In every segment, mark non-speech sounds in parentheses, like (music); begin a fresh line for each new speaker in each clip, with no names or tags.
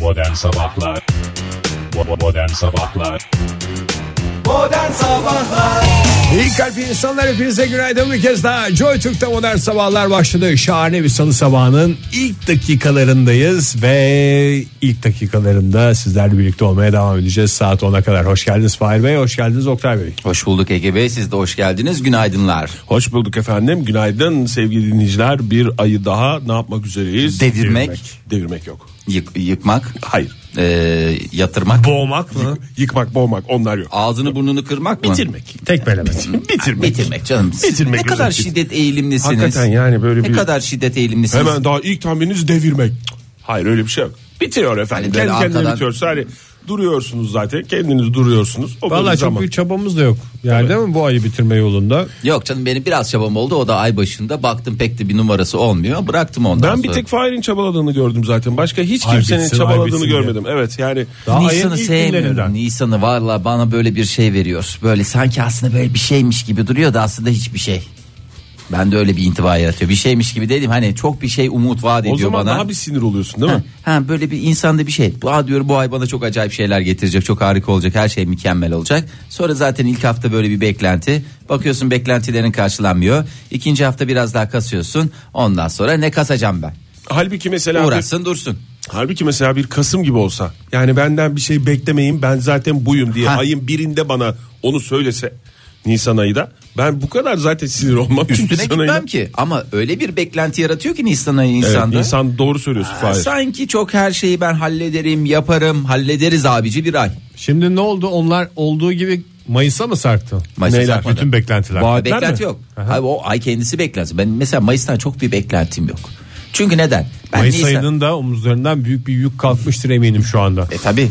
Modern Sabahlar Bo- Modern Sabahlar
İyi kalp insanlar hepinize günaydın bir kez daha Joy Türk'te modern sabahlar başladı Şahane bir salı sabahının ilk dakikalarındayız Ve ilk dakikalarında sizlerle birlikte olmaya devam edeceğiz Saat 10'a kadar hoş geldiniz Fahir Bey hoş geldiniz Oktay Bey
Hoş bulduk Ege Bey siz de hoş geldiniz günaydınlar.
Hoş bulduk efendim. Günaydın sevgili dinleyiciler. Bir ayı daha ne yapmak üzereyiz?
Devirmek.
Devirmek, Devirmek yok.
Yık- yıkmak,
Hayır.
eee, yatırmak,
Boğmak mı?
Yıkmak, boğmak onlar yok. Hmm.
ağzını burnunu kırmak mı?
Bitirmek.
Tekmelemek
Bitirmek.
Bitirmek canım. Siz
Bitirmek
ne kadar
özetle.
şiddet eğilimlisiniz.
Hakikaten yani böyle
Ne
bir
kadar şiddet eğilimlisiniz.
hemen daha ilk tahmininiz devirmek. Cık, Hayır öyle bir şey yok. Bitiyor efendim.
Hani böyle
Kendi kendine
arkadan-
bitiyorsa hani duruyorsunuz zaten. Kendiniz duruyorsunuz. O
Valla
Vallahi
çok
zaman.
büyük çabamız da yok Yani değil mi bu ayı bitirme yolunda
Yok canım benim biraz çabam oldu o da ay başında baktım pek de bir numarası olmuyor bıraktım ondan
Ben bir
sonra.
tek Fahir'in çabaladığını gördüm zaten. Başka hiç
Ay
kimsenin
bitsin, ay
çabaladığını
bitsin diye.
görmedim. Evet yani
Daha
Nisan'ı
ayın ilk günlerinden.
sevmiyorum. Nisan'ı valla bana böyle bir şey veriyor. Böyle sanki aslında böyle bir şeymiş gibi duruyor da aslında hiçbir şey. Ben de öyle bir intiba yaratıyor. Bir şeymiş gibi dedim hani çok bir şey umut vaat ediyor
o zaman
bana.
daha bir sinir oluyorsun değil
Ha,
mi?
ha, böyle bir insanda bir şey. Bu diyorum bu ay bana çok acayip şeyler getirecek. Çok harika olacak. Her şey mükemmel olacak. Sonra zaten ilk hafta böyle bir beklenti. Bakıyorsun beklentilerin karşılanmıyor. İkinci hafta biraz daha kasıyorsun. Ondan sonra ne kasacağım ben?
Halbuki mesela bir-
Uğraşsın dursun.
Halbuki mesela bir Kasım gibi olsa yani benden bir şey beklemeyin ben zaten buyum diye
Ha.
ayın birinde bana onu söylese Nisan ayı da ben bu kadar zaten sinir olmam.
Üstüne
Nisan ayına.
gitmem ki. Ama öyle bir beklenti yaratıyor ki Nisan ayı
Evet,
insanda.
insan doğru söylüyorsun
Ha,
Fahir.
Sanki çok her şeyi ben hallederim, yaparım, hallederiz abici bir ay.
Şimdi ne oldu onlar olduğu gibi Mayıs'a mı sarktı?
Mayıs'a
Neyler?
sarkmadı.
Bütün beklentiler
Vaatler
Beklenti
mi?
yok. Hayır, o ay kendisi beklenti. Ben mesela Mayıs'tan çok bir beklentim yok. Çünkü neden? Ben
Mayıs
Nisan-
ayının da omuzlarından büyük bir yük kalkmıştır eminim şu anda
E tabi.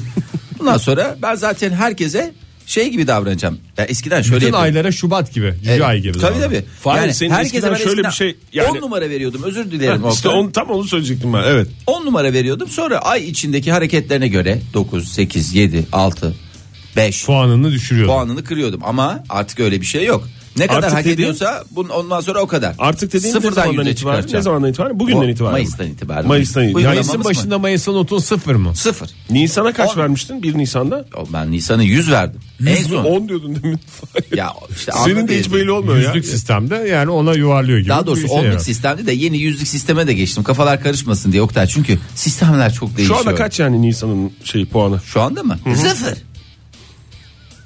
Bundan sonra ben zaten herkese şey gibi davranacağım. Ya eskiden şöyle
Bütün
yapıyordum.
aylara Şubat gibi, Cüce
Evet.
ay gibi.
Tabii
zaten.
tabii.
Fahir,
yani
senin
herkese
eskiden
ben şöyle bir şey yani... 10
yani-
numara veriyordum. Özür dilerim.
işte
Oktay.
onu, tam onu söyleyecektim ben evet.
10 numara veriyordum. Sonra ay içindeki hareketlerine göre 9, 8, 7, 6, 5
Puanını düşürüyor.
puanını kırıyordum. Ama artık öyle bir şey yok. Ne kadar
Artık
hak
dediğin-
ediyorsa bunun ondan sonra o kadar.
Artık dediğin ne
Sıfırdan
zamandan
yüze
itibaren?
çıkaracağım.
Ne zamandan itibaren? Bugünden
O-
itibaren.
Mayıs'tan itibaren.
Mayıs'tan
Bu
itibaren.
yıllamamız
Mayıs'ın
mı?
başında Mayıs'ın otun sıfır mı?
Sıfır.
Nisan'a kaç
On.
vermiştin 1 Nisan'da?
O Ben Nisan'ı 100 verdim. en son.
10 diyordun
(laughs)
demin.
Ya işte
Senin de
anladın.
hiç belli olmuyor ya.
Yüzlük sistemde yani ona yuvarlıyor gibi.
Daha doğrusu
şey
bir
onluk
yarar.
sistemde de yeni yüzlük sisteme de geçtim. Kafalar karışmasın diye Oktay. Çünkü sistemler çok
Şu
değişiyor.
anda kaç yani Nisan'ın şey puanı?
Şu anda mı? Sıfır.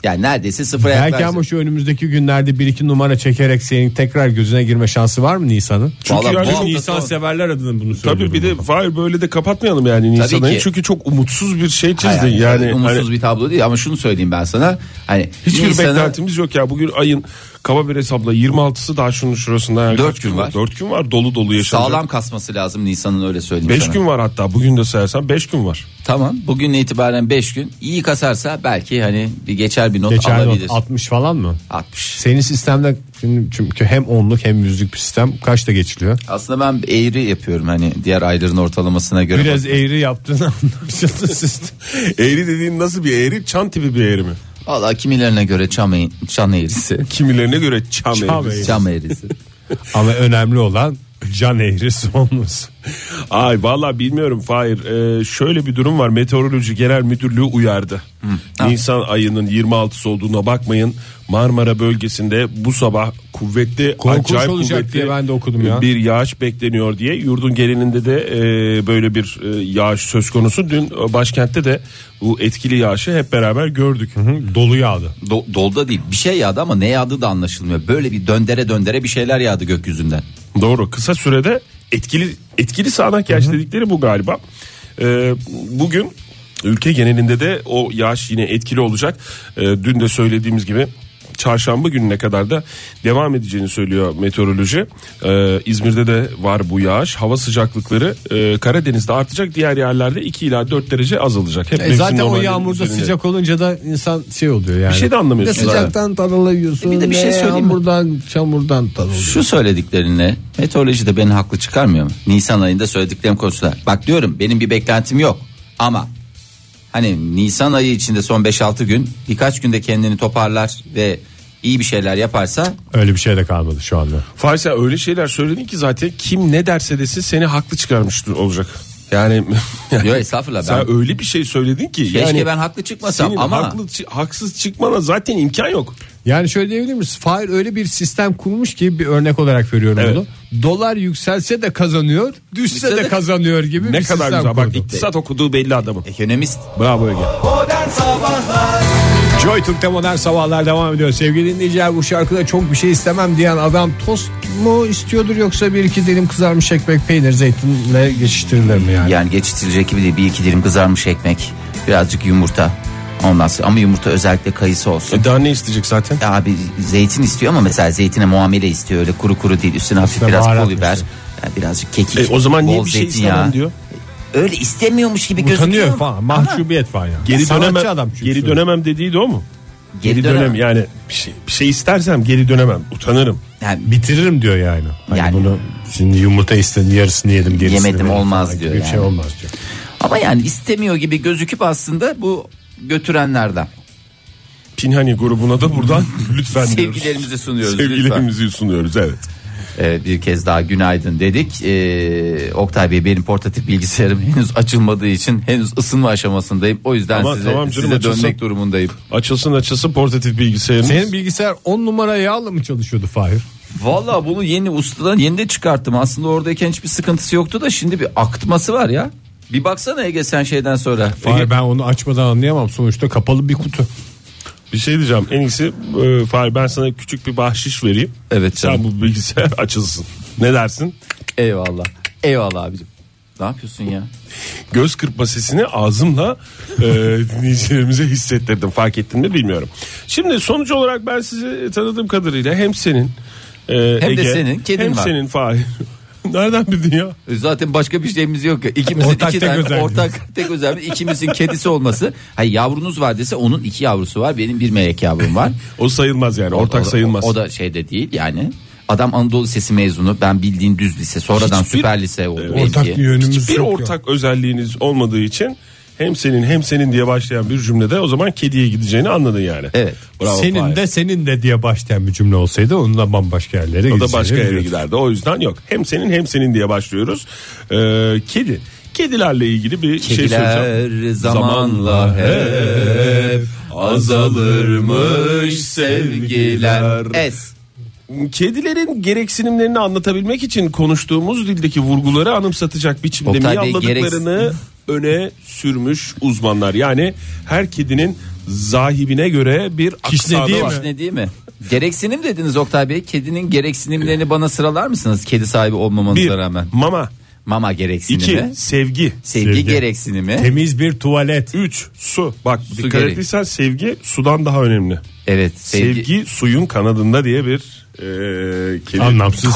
Yani neredeyse sıfıra
Belki ama
yaklaştı.
şu önümüzdeki günlerde bir iki numara çekerek senin tekrar gözüne girme şansı var mı Nisan'ın?
Çünkü
Vallahi
yani
bu hafta
Nisan
son-
severler adına bunu
Tabii
söylüyorum.
bir de Fahir böyle de kapatmayalım yani Nisan
Tabii ki.
ayı. Çünkü çok umutsuz bir şey çizdin.
Hayır,
yani
yani umutsuz
hani
bir tablo değil ama şunu söyleyeyim ben sana. Hani
hiçbir
Nisan'ı-
beklentimiz yok ya. Bugün ayın kaba bir hesapla 26'sı daha şunun şurasında. Yani
Dört
kaç
gün var.
4 gün var dolu dolu yaşanacak.
sağlam kasması lazım Nisan'ın öyle söyleyeyim
5
sana.
gün var hatta bugün de sayarsan 5 gün var.
Tamam. Bugün itibaren 5 gün. İyi kasarsa belki hani bir geçer bir not
Geçen
alabilir.
not 60 falan mı?
60.
Senin sistemde şimdi çünkü hem onluk hem yüzlük bir sistem kaçta geçiliyor?
Aslında ben eğri yapıyorum hani diğer ayların ortalamasına göre.
Biraz eğri yaptığını (laughs) anlaşıldı sistem.
eğri dediğin nasıl bir eğri? Çan tipi bir eğri mi?
Valla kimilerine göre çam, eğ- çan eğrisi.
Kimilerine göre çam,
Çam
eğrisi.
eğrisi.
Çam eğrisi.
Ama önemli olan can eğri sonumuz.
Ay valla bilmiyorum Fahir. Ee, şöyle bir durum var. Meteoroloji Genel Müdürlüğü uyardı. Nisan ayının 26'sı olduğuna bakmayın. Marmara bölgesinde bu sabah kuvvetli
Korkunç
acayip
olacak
kuvvetli
diye ben de okudum ya.
bir yağış bekleniyor diye. Yurdun genelinde de e, böyle bir e, yağış söz konusu. Dün e, başkentte de bu etkili yağışı hep beraber gördük.
Dolu yağdı.
Do- dolda değil bir şey yağdı ama ne yağdı da anlaşılmıyor. Böyle bir döndere döndere bir şeyler yağdı gökyüzünden.
Doğru. Kısa sürede etkili etkili sağanak yağış dedikleri bu galiba. Ee, bugün ülke genelinde de o yağış yine etkili olacak. Ee, dün de söylediğimiz gibi çarşamba gününe kadar da devam edeceğini söylüyor meteoroloji. Ee, İzmir'de de var bu yağış. Hava sıcaklıkları e, Karadeniz'de artacak. Diğer yerlerde 2 ila 4 derece azalacak. Hep
E
mevsim
zaten o
normallerinin
yağmurda
üzerinde.
sıcak olunca da insan şey oluyor yani.
Bir şey de anlamıyorsun
Ne
zaten.
sıcaktan tarılıyorsun.
Bir de bir şey
ne
söyleyeyim mi?
Yağmurdan, çamurdan tarılıyorsun.
Şu söylediklerinle meteoroloji de beni haklı çıkarmıyor mu? Nisan ayında söylediklerim konusunda. Bak diyorum benim bir beklentim yok ama hani Nisan ayı içinde son 5-6 gün birkaç günde kendini toparlar ve iyi bir şeyler
(laughs)
yaparsa
Öyle bir şey de kalmadı şu anda.
Fahir sen öyle şeyler söyledin ki zaten kim ne derse desin seni haklı çıkarmış olacak. Yani,
Yo, estağfurullah,
Sen
ben-
öyle bir şey söyledin ki
Keşke
yani
ben haklı çıkmasam
senin
ama
haklı çı- haksız çıkmana zaten imkan yok.
Yani şöyle diyebilir miyiz? Fahir öyle bir sistem kurmuş ki bir örnek olarak veriyorum
Evet.
bunu. Dolar yükselse de kazanıyor, düşse
Düşse
de
de-
kazanıyor gibi
Ne kadar
bir sistem
güzel bak
kurdu.
iktisat okuduğu belli adamın.
E, ekonomist
Bravo Ege.
Joy Türk'te modern sabahlar devam ediyor. Sevgili dinleyiciler bu şarkıda çok bir şey istemem diyen adam tost mu istiyordur yoksa bir iki dilim kızarmış ekmek peynir zeytinle geçiştirilir mi yani?
yani geçiştirilecek gibi değil bir iki dilim kızarmış ekmek birazcık yumurta ondan sonra ama yumurta özellikle kayısı olsun.
E daha ne isteyecek zaten?
E, Abi zeytin istiyor ama mesela zeytine muamele istiyor öyle kuru kuru değil üstüne hafif
Üstüne
biraz
baharat
pul biber yani birazcık kekik.
E, o zaman niye
bol
bir şey
zeytinyağı.
istemem diyor?
Öyle istemiyormuş gibi gözüküyor.
Utanıyor falan mahcubiyet var
E,
yani.
Geri
Sanatçı
dönemem.
adam çünkü.
geri dönemem dediği de o mu? Geri,
Geri
dönem.
dönem-
yani bir şey, bir şey istersem geri dönemem. Utanırım.
Yani
Bitiririm diyor yani. Hani
Yani-
bunu şimdi yumurta istedim yarısını yedim gerisini
Yemedim,
veririm
olmaz
falan
diyor
gibi Bir
yani.
şey olmaz diyor.
Ama yani istemiyor gibi gözüküp aslında bu götürenlerden.
Pinhani grubuna da buradan (laughs) lütfen diyoruz.
Sevgilerimizi sunuyoruz.
Sevgilerimizi sunuyoruz evet.
lütfen. Ee, bir kez daha günaydın dedik. Ee, Oktay Bey benim portatif bilgisayarım (laughs) henüz açılmadığı için henüz ısınma aşamasındayım. O yüzden
Ama
size,
tamam canım,
size
açılsın.
dönmek durumundayım.
Açılsın açılsın portatif bilgisayarımız.
Senin bilgisayar 10 numara yağla mı çalışıyordu Fahir?
Valla bunu yeni ustadan yeni de çıkarttım. Aslında oradayken hiçbir sıkıntısı yoktu da şimdi bir akıtması var ya. Bir baksana Ege sen şeyden sonra.
Fahir ben onu açmadan anlayamam. Sonuçta kapalı bir kutu.
Bir şey diyeceğim. En iyisi e, Fahri ben sana küçük bir bahşiş vereyim.
Evet
Sen
canım.
bu bilgisayar (laughs) açılsın. Ne dersin?
Eyvallah. Eyvallah abicim. Ne yapıyorsun ya?
Göz kırpma sesini ağzımla e, (laughs) dinleyicilerimize hissettirdim. Fark ettin mi bilmiyorum. Şimdi sonuç olarak ben sizi tanıdığım kadarıyla hem senin e,
de
Ege,
senin, kedin
hem
var.
senin Fahri. (laughs) Nereden bildin ya?
E, Zaten başka bir şeyimiz yok ya. İkimizin
Ortak
iki
tek
tane
özelliğimiz.
ortak tek özelliği ikimizin kedisi olması. Hayır yavrunuz var dese onun iki yavrusu var. Benim bir melek yavrum
(laughs)
var.
O sayılmaz yani. Ortak
O- o-
sayılmaz.
O, da şeyde değil yani. Adam Anadolu Lisesi mezunu. Ben bildiğin düz lise. Sonradan
Hiçbir-
süper lise oldu.
Ortak
belki.
bir yönümüz
Hiçbir
yok.
ortak özelliğiniz olmadığı için hem senin hem senin diye başlayan bir cümlede o zaman kediye gideceğini anladın yani.
Evet.
Bravo
senin
Fahir.
de senin de diye başlayan bir cümle olsaydı onunla bambaşka yerlere
O
gideceğini
da başka yere
biliyoruz.
giderdi. O yüzden yok. Hem senin hem senin diye başlıyoruz. Ee, kedi. Kedilerle ilgili bir şey söyleyeceğim.
Kediler zamanla hep azalırmış sevgiler. Es.
Kedilerin gereksinimlerini anlatabilmek için konuştuğumuz dildeki vurguları anımsatacak biçimde
Oktay Bey,
miyavladıklarını öne sürmüş uzmanlar. Yani her kedinin zahibine göre bir aksanı
Kişnediği
var.
mi?
Ne değil mi? Gereksinim dediniz Oktay Bey. Kedinin gereksinimlerini bana sıralar mısınız? Kedi sahibi olmamanıza
Bir,
rağmen.
mama.
Mama
İki,
gereksinimi.
sevgi.
Sevgi,
Sevgi.
gereksinimi.
Temiz bir tuvalet.
Üç, su. Bak dikkat
gerek.
ettiysen sevgi sudan daha önemli.
evet
Sevgi,
sevgi.
suyun kanadında diye bir e, kedi
Anlamsız.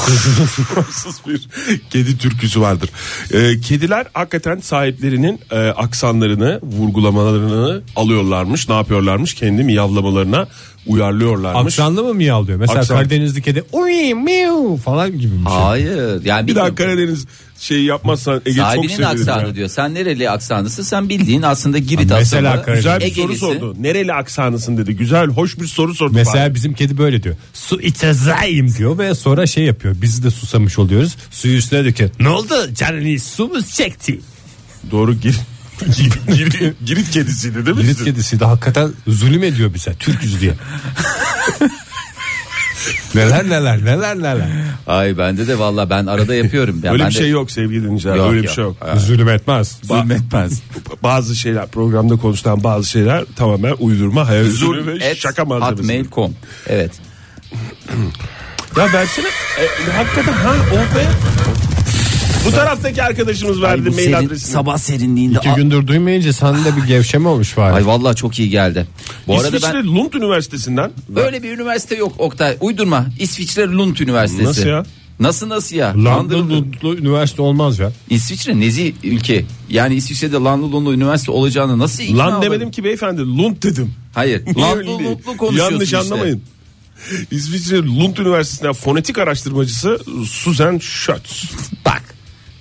(laughs) Fransız bir kedi türküsü vardır. Ee, kediler hakikaten sahiplerinin e, aksanlarını, vurgulamalarını alıyorlarmış. Ne yapıyorlarmış? Kendi miyavlamalarına uyarlıyorlarmış.
Aksanlı mı miyavlıyor? Mesela
Aksan.
Karadenizli kedi uy miu falan gibi bir şey.
Hayır. Yani
Bir daha
bilmiyorum.
Karadeniz şeyi yapmazsan Ege çok
Sahibinin
sevinirim.
aksanı
ya.
diyor. Sen nereli aksanlısın? Sen bildiğin aslında Girit
Ha, mesela
aksanı.
Karadeniz.
Güzel bir soru
Egelisi.
sordu. Nereli aksanısın dedi. Güzel, hoş bir soru sordu.
Mesela bizim kedi böyle diyor. Su içeceğim diyor ve sonra şey yapıyor. Biz de susamış oluyoruz. Suyu üstüne döküyor. Ne oldu? Canınız su mu çekti?
Bak, Doğru gir. (laughs) Gir- Gir- Girit kedisiydi değil mi?
Girit
sizin?
kedisi de hakikaten zulüm ediyor bize. Türküz diye. neler neler neler neler.
Ay bende de valla ben arada
(laughs)
yapıyorum. Ya
Öyle
ben
bir
de-
şey yok sevgili dinleyiciler.
Yok,
Öyle bir
yok.
şey yok.
Zulüm etmez.
Zulmetmez.
Bazı şeyler programda konuşulan bazı şeyler tamamen uydurma, hayal ürünü ve
Et
şaka malzemesi.
hotmail.com. Evet.
Ya versene. E, hakikaten ha oh be. Bu taraftaki arkadaşımız verdi
Ay bu
mail
serin-
adresini.
sabah serinliğinde.
İki
Ay-
gündür duymayınca sende bir gevşeme olmuş var.
Ay valla çok iyi geldi. Bu arada
İsviçre
ben
Lund Üniversitesi'nden
öyle bir üniversite yok Oktay. Uydurma. İsviçre Lund Üniversitesi.
Nasıl ya?
Nasıl nasıl ya? Landlud'un-
Landludlu üniversite olmaz ya.
İsviçre nezih ülke. Yani İsviçre'de Landlud'un üniversite olacağını nasıl ikna
lan
olur?
demedim ki beyefendi (laughs) Lund dedim.
Hayır.
Niye öyle değil?
Landlud'lu konuşuyorsun
Yanlış
işte.
anlamayın. İsviçre Lund Üniversitesi'nden fonetik araştırmacısı Susan Schütz.
Bak.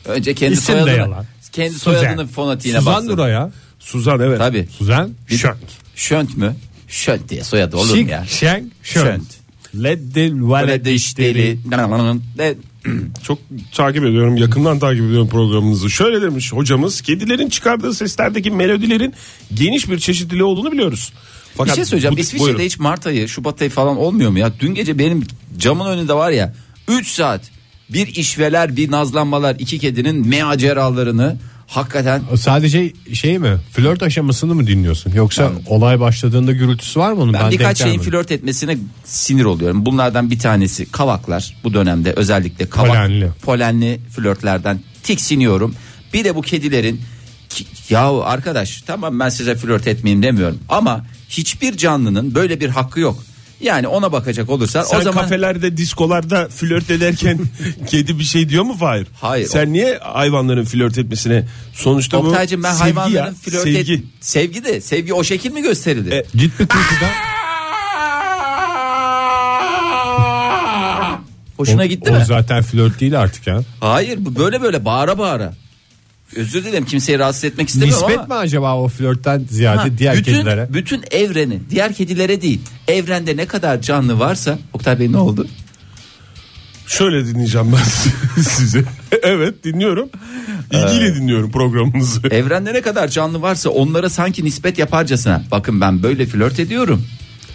Önce kendi
İsim de
soyadını.
yalan.
Kendi
Suzan.
soyadının fonetiğine
Suzan
baksın.
Nura ya.
Suzan evet.
Tabii.
Suzan Şönt.
Şönt mü? Şönt diye soyadı olur mu
Şik,
ya?
Şenk,
Şönt.
Şönt. Leddil
Böyle
valedi
dişleri. (clears throat)
Çok takip ediyorum yakından takip ediyorum programınızı. Şöyle demiş hocamız kedilerin çıkardığı seslerdeki melodilerin geniş bir çeşitliliği olduğunu biliyoruz.
Bir
Fakat
şey söyleyeceğim.
bu-
İsviçre'de
buyurun.
hiç Mart ayı, Şubat ayı falan olmuyor mu ya? Dün gece benim camın önünde var ya 3 saat bir işveler, bir nazlanmalar, iki kedinin meaceralarını hakikaten
Sadece şey mi flört aşamasını mı dinliyorsun yoksa olay başladığında gürültüsü var mı onun?
ben, birkaç
denk
şeyin
gelmedim.
flört etmesine sinir oluyorum. Bunlardan bir tanesi kavaklar. Bu dönemde özellikle kavak
Polenli.
polenli flörtlerden tiksiniyorum. Bir de bu kedilerin ki- yahu arkadaş tamam ben size flört etmeyeyim demiyorum ama hiçbir canlının böyle bir hakkı yok. Yani ona bakacak olursan
Sen
o zaman
kafelerde diskolarda
(laughs)
flört ederken kedi bir şey diyor mu Fahir?
Hayır.
Sen niye hayvanların flört etmesine sonuçta
Oktay'cım
bu
ben
sevgi
hayvanların
ya,
flört
sevgi.
et sevgi de sevgi o şekil mi gösterildi?
E,
Git bir türküden.
Hoşuna gitti
o
mi?
zaten flört değil artık ya.
Hayır bu böyle böyle bağıra bağıra. Özür dilerim kimseyi rahatsız etmek istemiyorum
Nispet
ama.
mi acaba o flörtten ziyade
Ha,
diğer
bütün,
kedilere?
Bütün evreni diğer kedilere değil. Evrende ne kadar canlı varsa Oktay Bey ne oldu?
Şöyle dinleyeceğim ben (laughs) sizi. evet dinliyorum.
Ee,
İlgiyle dinliyorum programınızı.
Evrende ne kadar canlı varsa onlara sanki nispet yaparcasına. Bakın ben böyle flört ediyorum.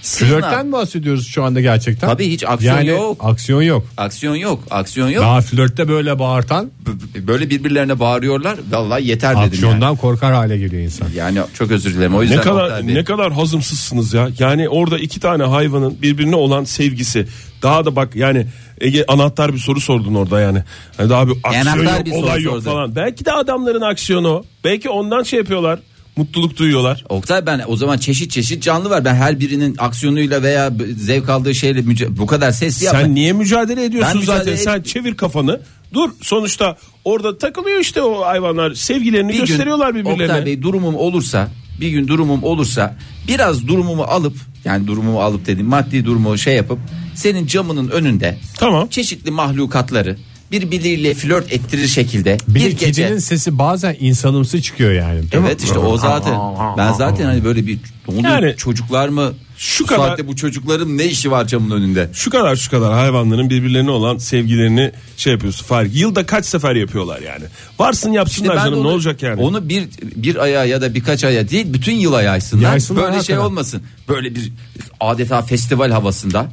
Siz ne yap-
Flörtten mi bahsediyoruz şu anda gerçekten?
Tabii hiç aksiyon
yani,
yok.
aksiyon yok.
Aksiyon yok, aksiyon yok.
Daha flörtte böyle bağırtan
B- Böyle birbirlerine bağırıyorlar. Vallahi yeter dedim yani.
aksiyondan korkar hale geliyor insan.
Yani çok özür dilerim. O yüzden
Ne kadar
Oktay Bey-
ne kadar hazımsızsınız ya. Yani orada iki tane hayvanın birbirine olan sevgisi. Daha da bak yani Ege anahtar bir soru sordun orada yani. Hani daha bir aksiyon
Anahtar
yok,
bir soru
olay yok
sordu.
falan. Belki de adamların aksiyonu. o. Belki ondan şey yapıyorlar. Mutluluk duyuyorlar.
Oktay ben o zaman çeşit çeşit canlı var. Ben her birinin aksiyonuyla veya b- zevk aldığı şeyle müce- bu kadar sesli yapma.
Sen niye mücadele ediyorsun
Ben
zaten?
mücadele
Sen
etmiyorum.
çevir kafanı. Dur sonuçta orada takılıyor işte o hayvanlar. Sevgilerini
Bir gün
gösteriyorlar
Oktay
birbirlerine.
Bey durumum olursa bir gün durumum olursa biraz durumumu alıp yani durumumu alıp dedim maddi durumu şey yapıp senin camının önünde
Tamam.
çeşitli mahlukatları birbirleriyle flört ettirir şekilde
Bir, de
bir gece
kedinin sesi bazen insanımsı çıkıyor yani. değil mi?
Evet işte o zaten ben zaten hani böyle bir ne oluyor,
Yani
çocuklar mı şu
şu
bu
kadar-
saatte bu çocukların ne işi var camın önünde?
Şu kadar şu kadar hayvanların birbirlerine olan sevgilerini şey yapıyorsun. Fark. Yılda kaç sefer yapıyorlar yani. Varsın yapsınlar
İşte ben
canım
de
ne
onu-
olacak yani.
Onu bir bir aya ya da birkaç aya değil bütün yıla yaysınlar.
Yaysınlar
böyle şey
hakikaten.
olmasın. Böyle bir adeta festival havasında.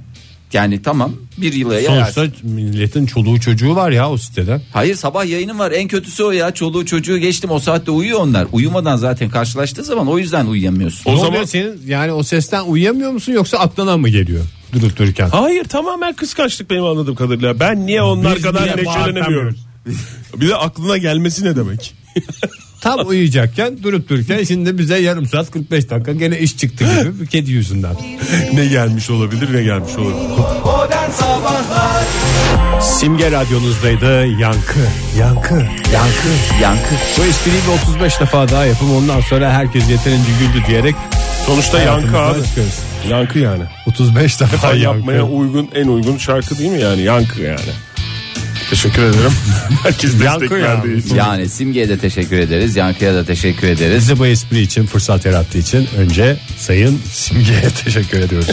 Yani tamam bir yıla
Sonuçta
yayarsın.
milletin çoluğu çocuğu var ya o sitede.
Hayır sabah yayınım var en kötüsü o ya. Çoluğu çocuğu geçtim o saatte uyuyor onlar. Uyumadan zaten karşılaştığı zaman o yüzden uyuyamıyorsun.
O
O
zaman
zaman-
senin yani o sesten uyuyamıyor musun yoksa aklına mı geliyor durup dururken?
Hayır tamamen kıskançlık benim anladığım kadarıyla. Ben niye onlar
Biz
kadar
bile
lekelenemiyorum? bir de aklına gelmesi ne demek?
Tam uyuyacakken durup dururken şimdi bize yarım saat 45 dakika gene iş çıktı gibi bir kedi yüzünden.
ne gelmiş olabilir ne gelmiş olabilir.
Simge radyonuzdaydı yankı yankı yankı.
Yankı.
Bu espriyi bir 35 defa daha yapın ondan sonra herkes yeterince güldü diyerek
Sonuçta yankı
hayatımızdan
abi.
çıkıyoruz.
Yankı yani.
35 defa
Ay,
yankı.
yapmaya uygun en uygun şarkı değil mi yani? Yankı yani. Teşekkür ederim. (laughs) Herkes destek
Yankı ya.
verdiği için.
Yani Simge'ye de teşekkür ederiz. Yankı'ya da teşekkür ederiz.
Bize bu espri için fırsat yarattığı için önce Sayın Simge'ye (laughs) teşekkür ediyoruz.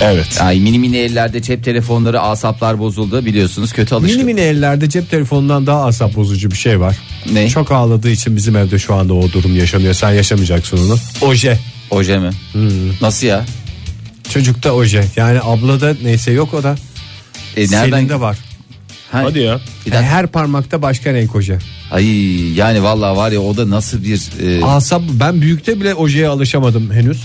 Evet.
Ay mini mini ellerde cep telefonları asaplar bozuldu biliyorsunuz kötü alışkanlık.
mini mini ellerde cep telefonundan daha asap bozucu bir şey var.
Ne?
Çok ağladığı için bizim evde şu anda o durum yaşanıyor. Sen yaşamayacaksın onu. Oje.
Oje mi?
Hmm.
Nasıl ya?
Çocukta oje. Yani ablada neyse yok o da.
E,
Serinde var.
Ha,
Hadi ya.
Bir dakika.
Yani her parmakta başka renk oje.
Ay yani vallahi var ya o da nasıl bir e,
Asap ben büyükte bile ojeye alışamadım henüz.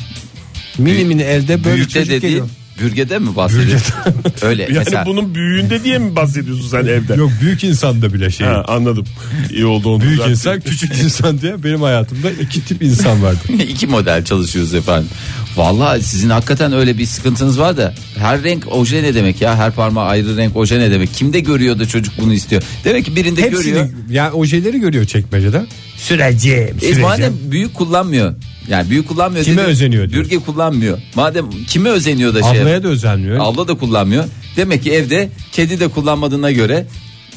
Mini
Büyük-
mini elde böyle
büyükte
çocuk
dediğin
geliyor.
bürgede mi bahsediyorsun? (laughs) Öyle
Yani
mesela.
bunun büyüğünde diye mi bahsediyorsun sen evde?
Yok büyük insanda bile şey.
Ha, anladım. İyi oldu onu.
Büyük
düzelttin.
insan küçük insan diye benim hayatımda iki tip insan vardı.
İki model çalışıyoruz efendim. Vallahi sizin hakikaten öyle bir sıkıntınız var da her renk oje ne demek ya? Her parmağı ayrı renk oje ne demek? Kimde görüyor da çocuk bunu istiyor? Demek ki birinde
Hepsini
görüyor.
yani ojeleri görüyor çekmecede. Süreceğim.
E, madem büyük kullanmıyor. Yani büyük kullanmıyor.
Kime
dedim,
özeniyor diyorsun?
Bürge kullanmıyor. Madem kime özeniyor da şey.
Ablaya da özenmiyor.
Abla da kullanmıyor. Demek ki evde kedi de kullanmadığına göre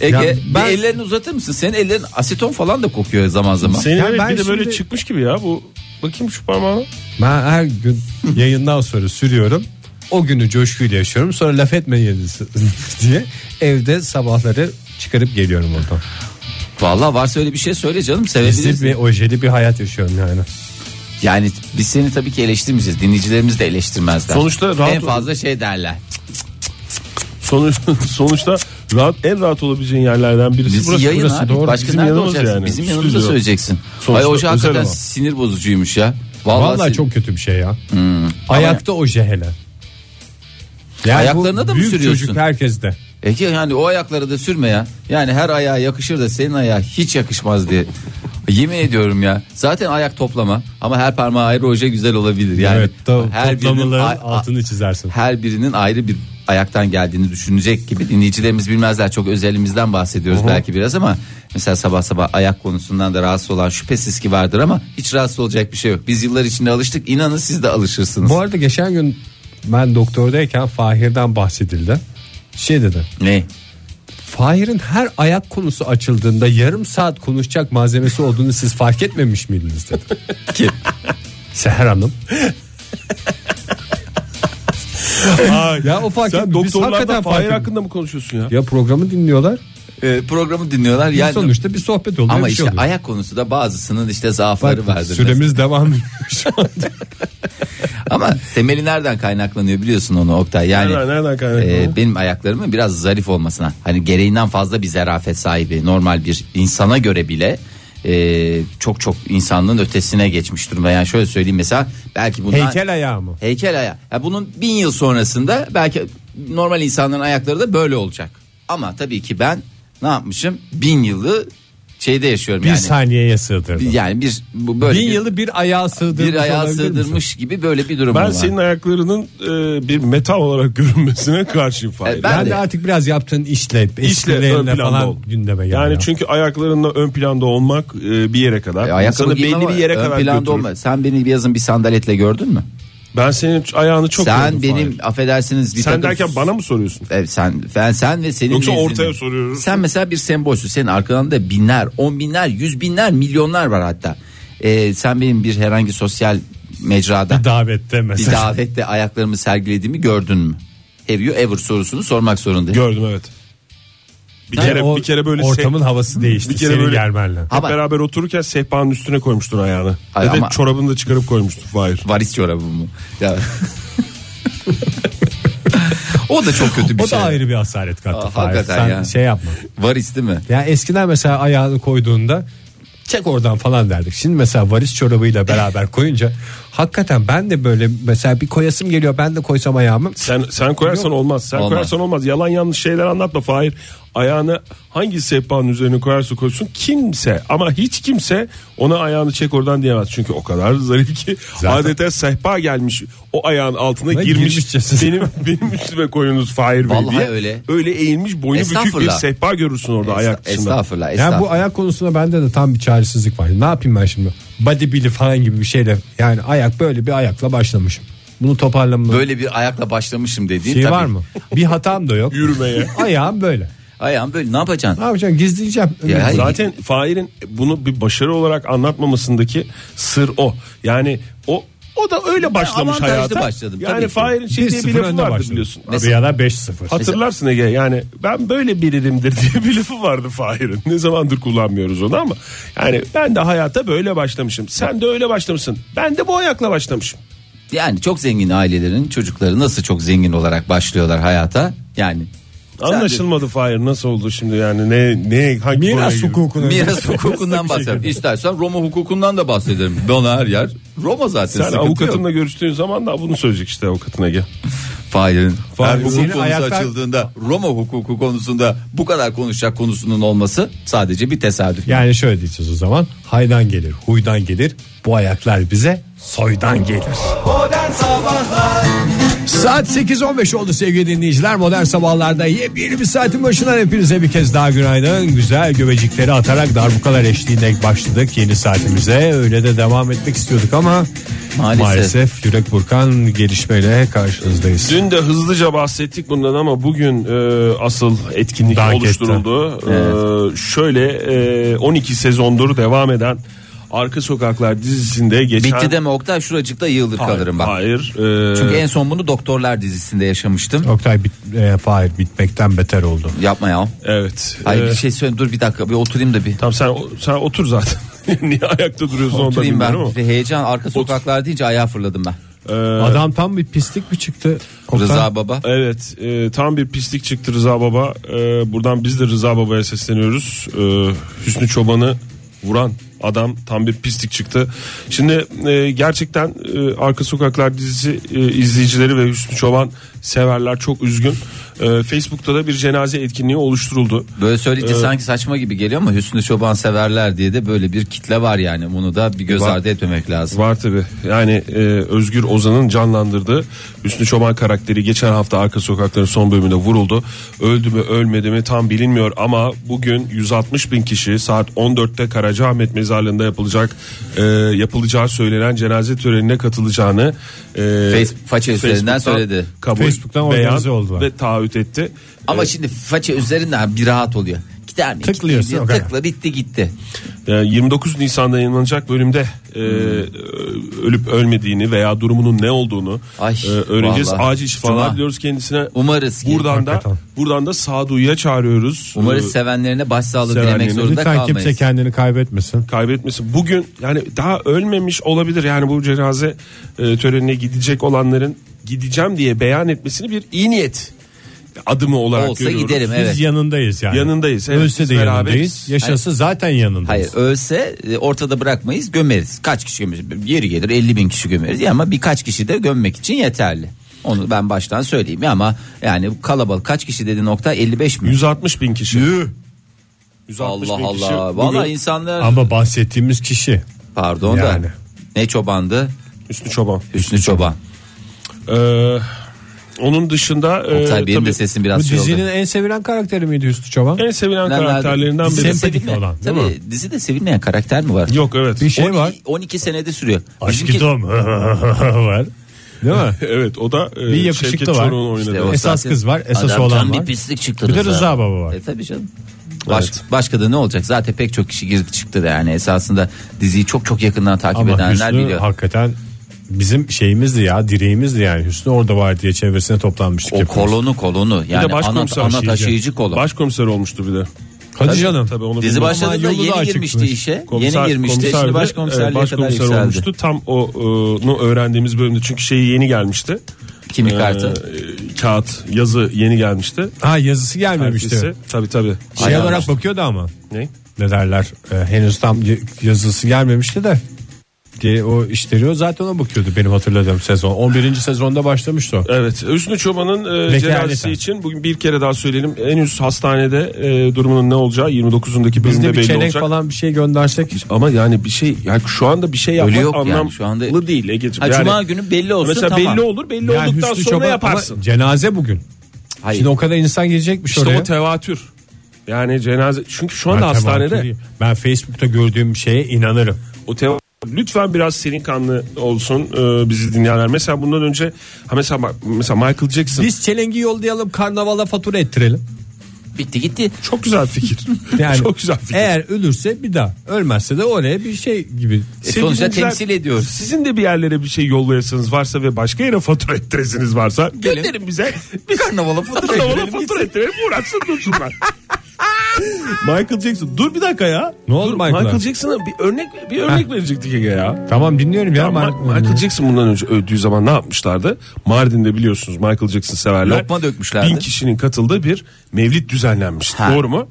Ege
Ya
bir
ben-
ellerini uzatır mısın? Senin ellerin aseton falan da kokuyor zaman zaman.
Senin
Ya
evet
ben
bir de böyle
şimdi-
çıkmış gibi ya bu. Bakayım şu parmağına.
(laughs)
Ben her gün yayından sonra sürüyorum. o günü coşkuyla yaşıyorum sonra laf etmeyiniz (laughs) diye evde sabahları çıkarıp geliyorum oradan.
Vallahi varsa öyle bir şey söyle canım
Bizli
sevebiliriz.
bir ojeli bir hayat yaşıyorum yani.
Yani biz seni tabii ki eleştirmeyeceğiz. Dinleyicilerimiz de eleştirmezler.
Sonuçta rahat
en
ol-
fazla şey derler.
Sonuçta, (laughs) sonuçta rahat en rahat olabileceğin yerlerden birisi
Bizi
burası.
yayın
burası
abi.
doğru.
Başka
Bizim
nerede
yanımız
olacaksın?
yani.
Bizim yanımızda
Stüdyo.
söyleyeceksin.
Sonuçta
Ay hoca
özel
hakikaten
ama.
sinir bozucuymuş ya. Vallahi, Hmm.
Vallahi,
sin-
çok kötü bir şey ya. Ayakta oje hele. Yani
Ayaklarına
bu
da mı
büyük
sürüyorsun?
Çocuk herkeste.
Ege E yani o ayakları da sürme ya. Yani her ayağa yakışır da senin ayağa hiç yakışmaz diye. Yemin ediyorum ya. Zaten ayak toplama ama her parmağı ayrı oje güzel olabilir. Yani
evet, to-
her birinin
toplamaların
ay- a-
altını çizersin.
her birinin ayrı bir ayaktan geldiğini düşünecek gibi dinleyicilerimiz bilmezler çok özelimizden bahsediyoruz belki biraz ama mesela sabah sabah ayak konusundan da rahatsız olan şüphesiz ki vardır ama hiç rahatsız olacak bir şey yok. Biz yıllar içinde alıştık inanın siz de alışırsınız.
Bu arada geçen gün ben doktordayken Fahir'den bahsedildi. Şey dedi.
Ne?
Fahir'in her ayak konusu açıldığında yarım saat konuşacak malzemesi olduğunu siz fark etmemiş
(laughs)
miydiniz dedi.
Kim?
Seher Hanım.
Ay,
Ya o fark
sen
etmiyor. Biz
doktorlardan
hakikaten fark
Fahir
etmiyor.
hakkında mı konuşuyorsun ya?
Ya programı dinliyorlar.
Ee, programı dinliyorlar
Yani,
yani.
sonuçta bir sohbet oluyor.
Ama
bir
işte
şey oluyor.
ayak konusu da bazısının işte zaafları
Bak,
vardır.
süremiz
(laughs)
devam ediyor şu an.
Ama temeli nereden kaynaklanıyor biliyorsun onu Oktay. Yani
Nereden- nereden kaynaklanıyor?
e, benim ayaklarımın biraz zarif olmasına. Hani gereğinden fazla bir zarafet sahibi normal bir insana göre bile e, çok çok insanlığın ötesine geçmiş durumda. Yani şöyle söyleyeyim mesela belki bundan
Heykel ayağı mı?
heykel ayağı. Ya bunun bin yıl sonrasında belki normal insanların ayakları da böyle olacak. Ama tabii ki ben ne yapmışım? Bin yılı şeyde yaşıyorum
Bir
yani.
saniyeye sığdırdı.
yani bir bu böyle
Bin
bir-
yılı bir ayağa sığdırmış.
bir ayağa
olabilir misin?
sığdırmış gibi böyle bir durum
Ben
var.
senin ayaklarının e, bir metal olarak (laughs) görünmesine karşıyım Fahir.
E,
Ben,
Ben
de
de.
artık biraz yaptığın işle,
İşle ön
işlerinle
planda
falan
ol.
gündeme geldi.
Yani
ya.
çünkü ayaklarınla ön planda olmak e, bir yere kadar.
E, ayakkabı
İnsanı
giyme
belli
ama
bir yere
ön
kadar
planda
götürür.
olma. Sen beni bir yazın bir sandaletle gördün mü?
Ben senin ayağını çok
sen
gördüm
benim
Fahir.
affedersiniz bir
Sen
takım-
derken bana mı soruyorsun?
Evet, sen ben sen ve senin
Yoksa
nezdinde-
ortaya soruyoruz.
Sen mesela bir sembolsün. Senin arkanda binler, on binler, yüz binler, milyonlar var hatta. E, sen benim bir herhangi sosyal mecrada
davette
bir
mesela.
davette ayaklarımı sergilediğimi gördün mü? Have you ever sorusunu sormak zorundayım.
Gördüm evet. Bir
Yani
kere
O
bir kere böyle
ortamın
seh-
havası değişti.
bir kere
senin
böyle-
gelmenle.
hep
Ama-
beraber otururken sehpanın üstüne koymuştun ayağını.
Hayır
Ve de
ama-
çorabını da çıkarıp koymuştun Fahir.
Varis çorabı mı? Ya. o da çok kötü bir
O
şey.
da ayrı bir hasaret kattı.
Aa,
Fahir.
hakikaten
Sen
ya.
şey yapma.
Varis değil mi?
Ya eskiden mesela ayağını koyduğunda çek oradan falan derdik. Şimdi mesela varis çorabıyla beraber koyunca hakikaten ben de böyle mesela bir koyasım geliyor ben de koysam ayağımı.
Sen sen koyarsan olmaz. Sen
Olmaz.
koyarsan olmaz. Yalan yanlış şeyler anlatma Fahir. Ayağını hangi sehpanın üzerine koyarsa koysun kimse ama hiç kimse ona ayağını çek oradan diyemez. Çünkü o kadar zarif ki
Zaten-
adeta sehpa gelmiş o ayağın altına
Ve
girmiş.
girmişçesine.
Benim benim üstüme koyunuz Fahir Bey
Vallahi
diye.
öyle.
Öyle eğilmiş boynu bükük bir
Estağfurullah.
sehpa görürsün orada ayak
Estağfurullah,
dışında.
estağfurullah.
Yani bu ayak konusunda bende de tam bir çaresizlik var. Ne yapayım ben şimdi? Body bili falan gibi bir şeyle yani ayak böyle bir ayakla başlamışım. Bunu toparlamam.
böyle bir ayakla başlamışım dediğin
şey
tabii.
var mı? Bir hatam da yok.
(laughs) Yürümeye.
Ayağım böyle.
Ayağım böyle ne yapacaksın?
Ne yapacağım? Gizleyeceğim.
Ya, hayır.
Zaten Fahir'in bunu bir başarı olarak anlatmamasındaki sır o. Yani o o da öyle başlamış
avantajlı
hayata.
başladım, tabii
yani
ki.
Fahir'in şey diye bir
1-0
lafı
önde
vardı
başladım.
biliyorsun.
Mesela-
Ya da 5-0.
Hatırlarsın Ege yani ben böyle birimdir (laughs) diye bir lafı vardı Fahir'in. Ne zamandır kullanmıyoruz onu ama yani ben de hayata böyle başlamışım. Sen de öyle başlamışsın. Ben de bu ayakla başlamışım.
Yani çok zengin ailelerin çocukları nasıl çok zengin olarak başlıyorlar hayata? Yani sen de-
Anlaşılmadı Fahir nasıl oldu şimdi yani ne ne hangi konuya
Miras
girdi?
hukukuna. (laughs)
Miras hukukundan
şey
bahsedelim. İstersen Roma hukukundan da bahsederim. Bana her yer Roma zaten.
Sen
sıkıntı
avukatınla
yok.
görüştüğün zaman da bunu söyleyecek işte avukatın Ege.
Failin. Her hukuk
senin
konusu
ayaklar-
açıldığında Roma hukuku konusunda bu kadar konuşacak konusunun olması sadece bir tesadüf.
Yani şöyle diyeceğiz o zaman. Haydan gelir, huydan gelir. Bu ayaklar bize soydan gelir. Saat 8.15 oldu sevgili dinleyiciler. Modern Sabahlar'da yepyeni bir saatin başından hepinize bir kez daha günaydın. Güzel göbecikleri atarak darbukalar eşliğinde başladık yeni saatimize. Öyle de devam etmek istiyorduk ama maalesef,
Maalesef.
yürek burkan gelişmeyle karşınızdayız.
Dün de hızlıca bahsettik bundan ama bugün e, asıl etkinlik
Dank etti.
oluşturuldu. E, şöyle e, 12 sezondur devam eden Arka Sokaklar dizisinde geçen...
Bitti deme Oktay şuracıkta yığılır
Hayır,
kalırım bak.
Hayır. e,
Çünkü en son bunu Doktorlar dizisinde yaşamıştım.
Oktay bit, e, Fahir bitmekten beter oldu.
Yapma ya.
Evet.
Hayır
e,
bir şey söyle dur bir dakika bir oturayım da bir.
Tamam sen, sen otur zaten. (laughs) Niye ayakta duruyorsun onda
Oturayım ben.
bilmiyorum ama.
Bir heyecan arka sokaklar deyince ayağa fırladım ben.
E,
Adam tam bir pislik mi çıktı? Oktay?
Rıza Baba.
Evet e, tam bir pislik çıktı Rıza Baba. E, buradan biz de Rıza Baba'ya sesleniyoruz. E, Hüsnü Çoban'ı vuran adam tam bir pislik çıktı. Şimdi e, gerçekten e, Arka Sokaklar dizisi e, izleyicileri ve Hüsnü Çoban severler çok üzgün. E, Facebook'ta da bir cenaze etkinliği oluşturuldu.
Böyle söyleyince sanki saçma gibi geliyor ama Hüsnü Çoban severler diye de böyle bir kitle var yani. Bunu da bir göz
Var.
ardı etmemek lazım.
Var tabi. Yani e, Özgür Ozan'ın canlandırdığı Hüsnü Çoban karakteri geçen hafta Arka Sokakların son bölümünde vuruldu. Öldü mü ölmedi mi tam bilinmiyor ama bugün 160 bin kişi saat 14'te Karacaahmet mezarlığında yapılacak e, yapılacağı söylenen cenaze törenine katılacağını e,
Face- faça üzerinden
Facebook'tan
söyledi.
Kabul,
Facebook'tan
beyan
organize oldular.
Ve taahhüt etti. E,
Ama şimdi faça üzerinden bir rahat oluyor. Gider mi?
Tıklıyorsun,
Gidiyor,
o kadar.
Tıkla bitti gitti.
Yani 29 Ee, Nisan'da yayınlanacak bölümde e, ölüp ölmediğini veya durumunun ne olduğunu
Hmm. Ay,
e, öğreneceğiz.
vallahi.
Acil şifalar
Cuma.
diliyoruz kendisine.
Umarız ki.
buradan da
Hakikaten.
buradan da sağduyuya çağırıyoruz.
Umarız
E,
sevenlerine başsağlığı dilemek
sevenlerine.
zorunda
Lütfen
kalmayız.
kimse kendini kaybetmesin.
kaybetmesin. Bugün yani daha ölmemiş olabilir yani bu cenaze e, törenine gidecek olanların gideceğim diye beyan etmesini bir iyi niyet adımı olarak
Olsa
görüyorum.
giderim
Biz
evet.
yanındayız yani.
Yanındayız, evet,
Ölse
biz
de
beraberiz.
yanındayız. Yaşası zaten yanındayız.
Hayır ölse e, ortada bırakmayız gömeriz. Kaç kişi gömeriz? Yeri gelir 50 bin kişi gömeriz Ya ama birkaç kişi de gömmek için yeterli. Onu ben baştan söyleyeyim ya ama yani kalabalık kaç kişi dedi nokta 55 mi?
160 bin kişi. 160
Allah
bin kişi
Allah.
bugün
Valla insanlar
Ama bahsettiğimiz kişi
pardon
Yani.
da ne çobandı?
Üstü çoban.
Hüsnü Çoban.
Ee, onun dışında e,
Oktay benim de
tabii
sesim
Ee, bu
biraz şey oldu.
dizinin en sevilen karakteri miydi Hüsnü Çoban?
en sevilen
Bilenler-
karakterlerinden
Dizide
biri.
Sempatik
sevilme-
olan, değil
Tabii dizide sevilmeyen karakter mi var?
Yok evet.
Bir şey var.
12 senede sürüyor.
Aşkı
Bizimki-
Dom (laughs) var. Değil mi?
Evet o da e,
Bir yakışıklı
Şevket
var.
Çoruh'un oynadığı.
İşte o
Esas
zaten
kız var, esas
adamdan
oğlan var.
bir pislik çıktı.
Bir de Rıza Baba var.
E tabii canım. Baş- başka da ne olacak? Zaten pek çok kişi girdi çıktı da yani esasında diziyi çok çok yakından takip
Ama
edenler
Hüsnü
biliyor.
hakikaten bizim şeyimizdi ya direğimizdi yani Hüsnü orada var diye çevresine toplanmıştık.
O
hepimiz.
kolonu kolonu yani ana,
başkomiser
şey
ana
şeyci.
taşıyıcı kolon.
Başkomiser olmuştu bir de.
Hadi canım.
Tabii onu
Dizi
bilmiyorum.
Ama
başladığında
yolu da
yeni
açıkmış.
girmişti işe.
Komiser-
yeni girmişti.
komiser
Şimdi
de,
başkomiserliğe
e,
kadar
başkomiser
yükseldi.
olmuştu. Tam o, e, onu öğrendiğimiz bölümde çünkü şeyi yeni gelmişti.
Kimi
Ee,
E,
kartı?
e, kağıt yazı yeni gelmişti.
Ha yazısı gelmemişti.
Tabi Tabii tabii.
Şey
Ayağına
olarak
işte.
bakıyordu ama.
Ne?
Ne derler e, henüz tam y- yazısı gelmemişti de diye o işleriyor zaten o bakıyordu benim hatırladığım sezon 11. sezonda başlamıştı o.
Evet. Hüsnü Çoban'ın e,
Vekaleten.
cenazesi için bugün bir kere daha söyleyelim. Henüz hastanede e, durumunun ne olacağı 29'undaki
Biz
bölümde
de bir
belli
çelenk
olacak.
falan bir şey göndersek
Ama yani bir şey yani şu anda bir şey yapmak
Öyle yok yani,
anlamlı
şu anda-
değil Egeciğim.
Ha,
yani,
Cuma günü belli olsun,
Mesela
tamam.
belli olur belli
Yani
olduktan
Hüsnü
sonra
Çoban-
yaparsın.
ama cenaze bugün.
Hayır.
Şimdi o kadar insan gelecekmiş
İşte
oraya.
o tevatür. Yani cenaze çünkü şu anda
Ben
hastanede
tevatürüyüm. Ben Facebook'ta gördüğüm şeye inanırım.
o teva- lütfen biraz serin kanlı olsun e, bizi dinleyenler. Mesela bundan önce ha mesela bak- mesela Michael Jackson
Biz çelengi yollayalım karnavala
(laughs)
fatura ettirelim.
Bitti gitti.
çok güzel fikir. (laughs)
Yani
çok güzel fikir.
Eğer ölürse bir daha, ölmezse de oraya bir şey gibi.
E,
Sevgili
sonuçta
dinleyiciler,
temsil ediyoruz.
Sizin de bir yerlere bir şey yollayasınız varsa ve başka yere fatura ettiresiniz varsa gönderin bize.
(laughs)
Biz
Karnavala fatura
Karnavala
ettirelim,
fatura ettirelim uğraşsın dursunlar. (laughs) Michael Jackson dur bir dakika ya.
Ne oldu
Dur,
Michael'a?
Michael Jackson'a bir örnek bir örnek verecektik Ege ya.
Tamam dinliyorum ya.
Ya Ma-
Ben-
Michael Jackson bundan önce öldüğü zaman ne yapmışlardı? Mardin'de biliyorsunuz Michael Jackson severler.
Lokma dökmüşlerdi.
Bin kişinin katıldığı bir mevlid düzenlenmişti.
Ha.
Doğru mu?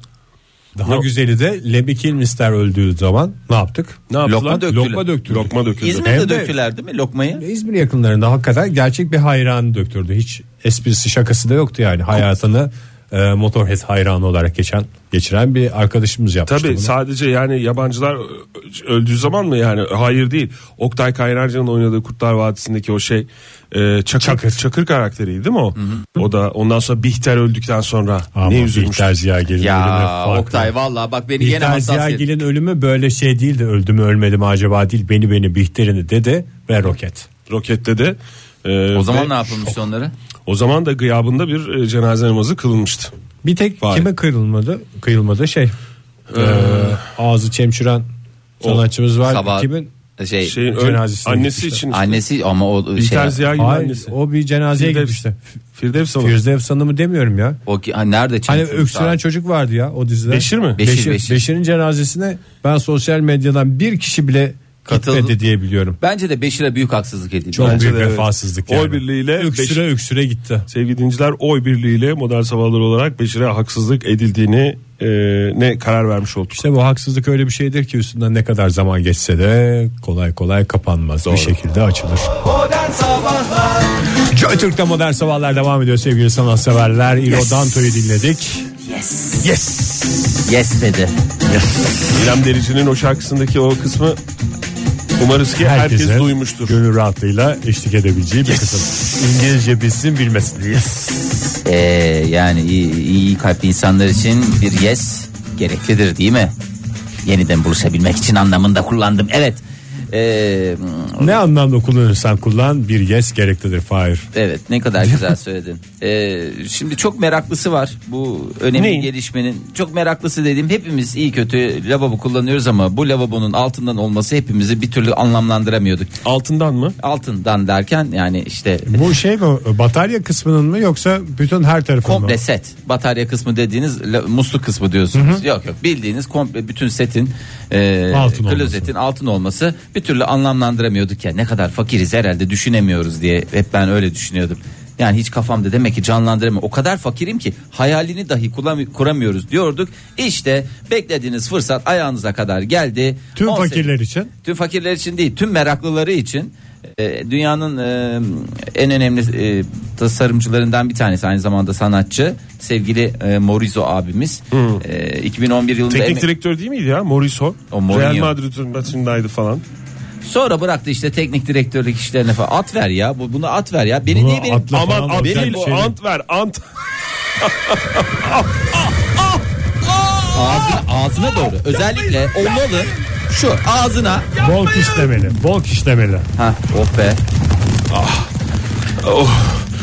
Daha
Yok.
güzeli de Lebi Kilmister öldüğü zaman ne yaptık?
Ne yaptılar?
Lokma döktüler.
Lokma döktürdük.
Lokma döküldü.
Hem
İzmir'de
de-
döktüler değil mi lokmayı?
İzmir yakınlarında hakikaten gerçek bir hayranı döktürdü. Hiç esprisi şakası da yoktu yani. Hayatını e, Motorhead hayranı olarak geçen geçiren bir arkadaşımız yapmıştı
Tabii
bunu.
sadece yani yabancılar ö- öldüğü zaman mı yani hayır değil. Oktay Kaynarca'nın oynadığı Kurtlar Vadisi'ndeki o şey e, çakır, çakır
Çakır.
karakteriydi değil mi o? O da ondan sonra Bihter öldükten sonra
Ama
ne üzülmüş.
Bihter Ziyagil'in ölümü
Ya
farklı.
Oktay valla bak beni yine
Bihter
hassasiyet.
Ziyagil'in ölümü böyle şey değildi. Öldü mü ölmedi mi acaba değil. Beni beni Bihter'ini dedi ve roket.
Rokette de
O zaman ne yapılmıştı onları?
E, O zaman da gıyabında bir e, cenaze namazı kılınmıştı.
Bir tek
Vay. Ee,
kime kırılmadı? Kıyılmadı şey. e, ağzı çemçiren Sanatçımız var.
Sabah
Kimin?
şey,
Şeyin ön-
Cenazesine
annesi
gitmişti.
için işte.
annesi ama o şey
İlter Ziyagil'in
Hayır,
annesi.
o bir cenazeye
Firdevs-
gitmişti.
Firdevs Hanım.
Firuze Efsan'ı demiyorum ya.
o ki- ha, nerede
Hani
çalışıyormuş
öksüren
abi?
çocuk vardı ya o dizide.
Beşir mi?
Beşir,
Beşir,
Beşir.
Beşir'in cenazesine ben sosyal medyadan bir kişi bile
Katıldı.
gitmedi diye biliyorum.
Bence de Beşir'e büyük haksızlık edildi.
Çok
Bence
büyük
de evet.
vefasızlık
Oy
yani.
birliğiyle
öksüre öksüre gitti.
Sevgili dinleyiciler oy birliğiyle modern sabahlar olarak Beşir'e haksızlık edildiğini e, ne karar vermiş olduk.
İşte bu haksızlık öyle bir şeydir ki üstünden ne kadar zaman geçse de kolay kolay kapanmaz. Bir şekilde açılır. Joy Türk'te modern sabahlar devam ediyor sevgili sanatseverler. İro Danto'yu dinledik.
Yes dedi.
İrem Derici'nin o şarkısındaki o kısmı umarız ki herkes
Herkese
duymuştur.
Gönül rahatlığıyla eşlik edebileceği bir kısım. İngilizce bilsin bilmesin.
Ee, yani iyi, iyi kalpli insanlar için bir yes gereklidir değil mi? Yeniden buluşabilmek için anlamında kullandım. Evet. Ee,
Ne anlamda kullanırsan kullan bir yes gereklidir Fahir.
Evet ne kadar güzel söyledin. Ee, şimdi çok meraklısı var bu önemli
Neyin?
gelişmenin. Çok meraklısı dediğim hepimiz iyi kötü lavabo kullanıyoruz ama bu lavabonun altından olması hepimizi bir türlü anlamlandıramıyorduk.
Altından mı?
Altından derken yani işte
Bu şey mi batarya kısmının mı yoksa bütün her tarafın mı?
komple set batarya kısmı dediğiniz la- musluk kısmı diyorsunuz. Yok yok bildiğiniz komple bütün setin e,
Altın olması.
klozetin altın olması bir türlü anlamlandıramıyorduk ya ne kadar fakiriz herhalde düşünemiyoruz diye hep ben öyle düşünüyordum. Yani hiç kafamda demek ki canlandıramıyorum. O kadar fakirim ki hayalini dahi kulam- kuramıyoruz diyorduk. İşte beklediğiniz fırsat ayağınıza kadar geldi.
Tüm
18
fakirler için.
Tüm fakirler için değil, tüm meraklıları için e, dünyanın e, en önemli e, tasarımcılarından bir tanesi aynı zamanda sanatçı sevgili e, Morizo abimiz
Hmm.
E, 2011 yılında
Teknik
emek-
direktör değil miydi ya? Moriso.
O Mourinho.
Real Madrid'in maçındaydı falan.
sonra bıraktı işte teknik direktörlük işlerine falan at ver ya bu bunu at ver ya beni
Bunu
niye benim
atla
Aman
falan
at
olacak
değil
bir
o,
şey değil.
ant ver ant.
ağzına, ağzına doğru özellikle olmalı şu ağzına
Bol kişlemeli. Bol kişlemeli.
ha oh be
Ah.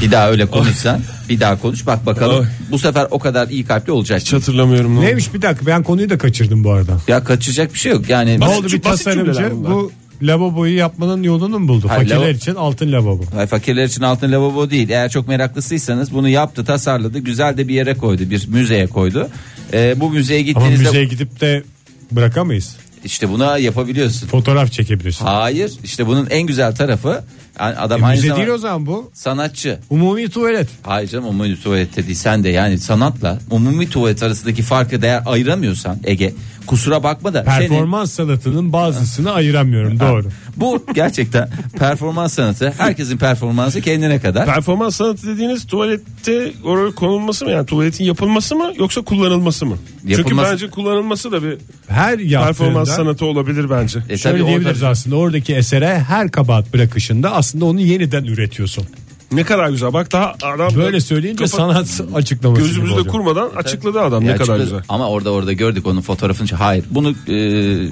bir daha öyle konuşsan bir daha konuş bak bakalım
Oy.
Ah.
bu sefer o kadar iyi kalpli olacak
Hiç hatırlamıyorum. Ne?
Neymiş bir dakika ben konuyu da kaçırdım bu arada.
ya kaçacak bir şey yok yani
Ne
Basit
oldu
cüm-
bir
basit
tasarımcı
cümleler bunlar.
bu lavaboyu yapmanın yolunu mu buldu?
Hayır,
Fakirler
lavabo-
için altın lavabo.
Hayır, fakirler için altın lavabo değil. Eğer çok meraklısıysanız bunu yaptı, tasarladı, güzel de bir yere koydu, bir müzeye koydu. Ee, bu müzeye
Ama
gittiğinizde
müzeye gidip de bırakamayız.
işte buna yapabiliyorsun.
Fotoğraf çekebilirsin.
Hayır, işte bunun en güzel tarafı yani adam
E,
aynı
müze
zamanda
değil o zaman bu.
sanatçı.
Umumi tuvalet.
Hayır canım umumi tuvalette değil sen de yani sanatla umumi tuvalet arasındaki farkı değer ayıramıyorsan Ege kusura bakma da senin-
Performans sanatının bazısını ayıramıyorum doğru.
bu gerçekten performans sanatı herkesin performansı kendine kadar E,
Performans sanatı dediğiniz tuvalette oraya konulması mı yani tuvaletin yapılması mı yoksa kullanılması mı? Çünkü
Yapılması-
bence kullanılması da bir
Her
performans
yaptığında
sanatı olabilir bence.
E,
şöyle
tabii orada-
diyebiliriz aslında oradaki esere her kabahat bırakışında aslında onu yeniden üretiyorsun.
Ne kadar güzel bak daha adam
Böyle söyleyince
kafa-
sanat açıklaması gibi
gözümüzde
oluyor.
kurmadan açıkladı adam
Ya
ne kadar
açıkladı.
güzel.
Ama orada orada gördük onun fotoğrafını. Hayır. Bunu e,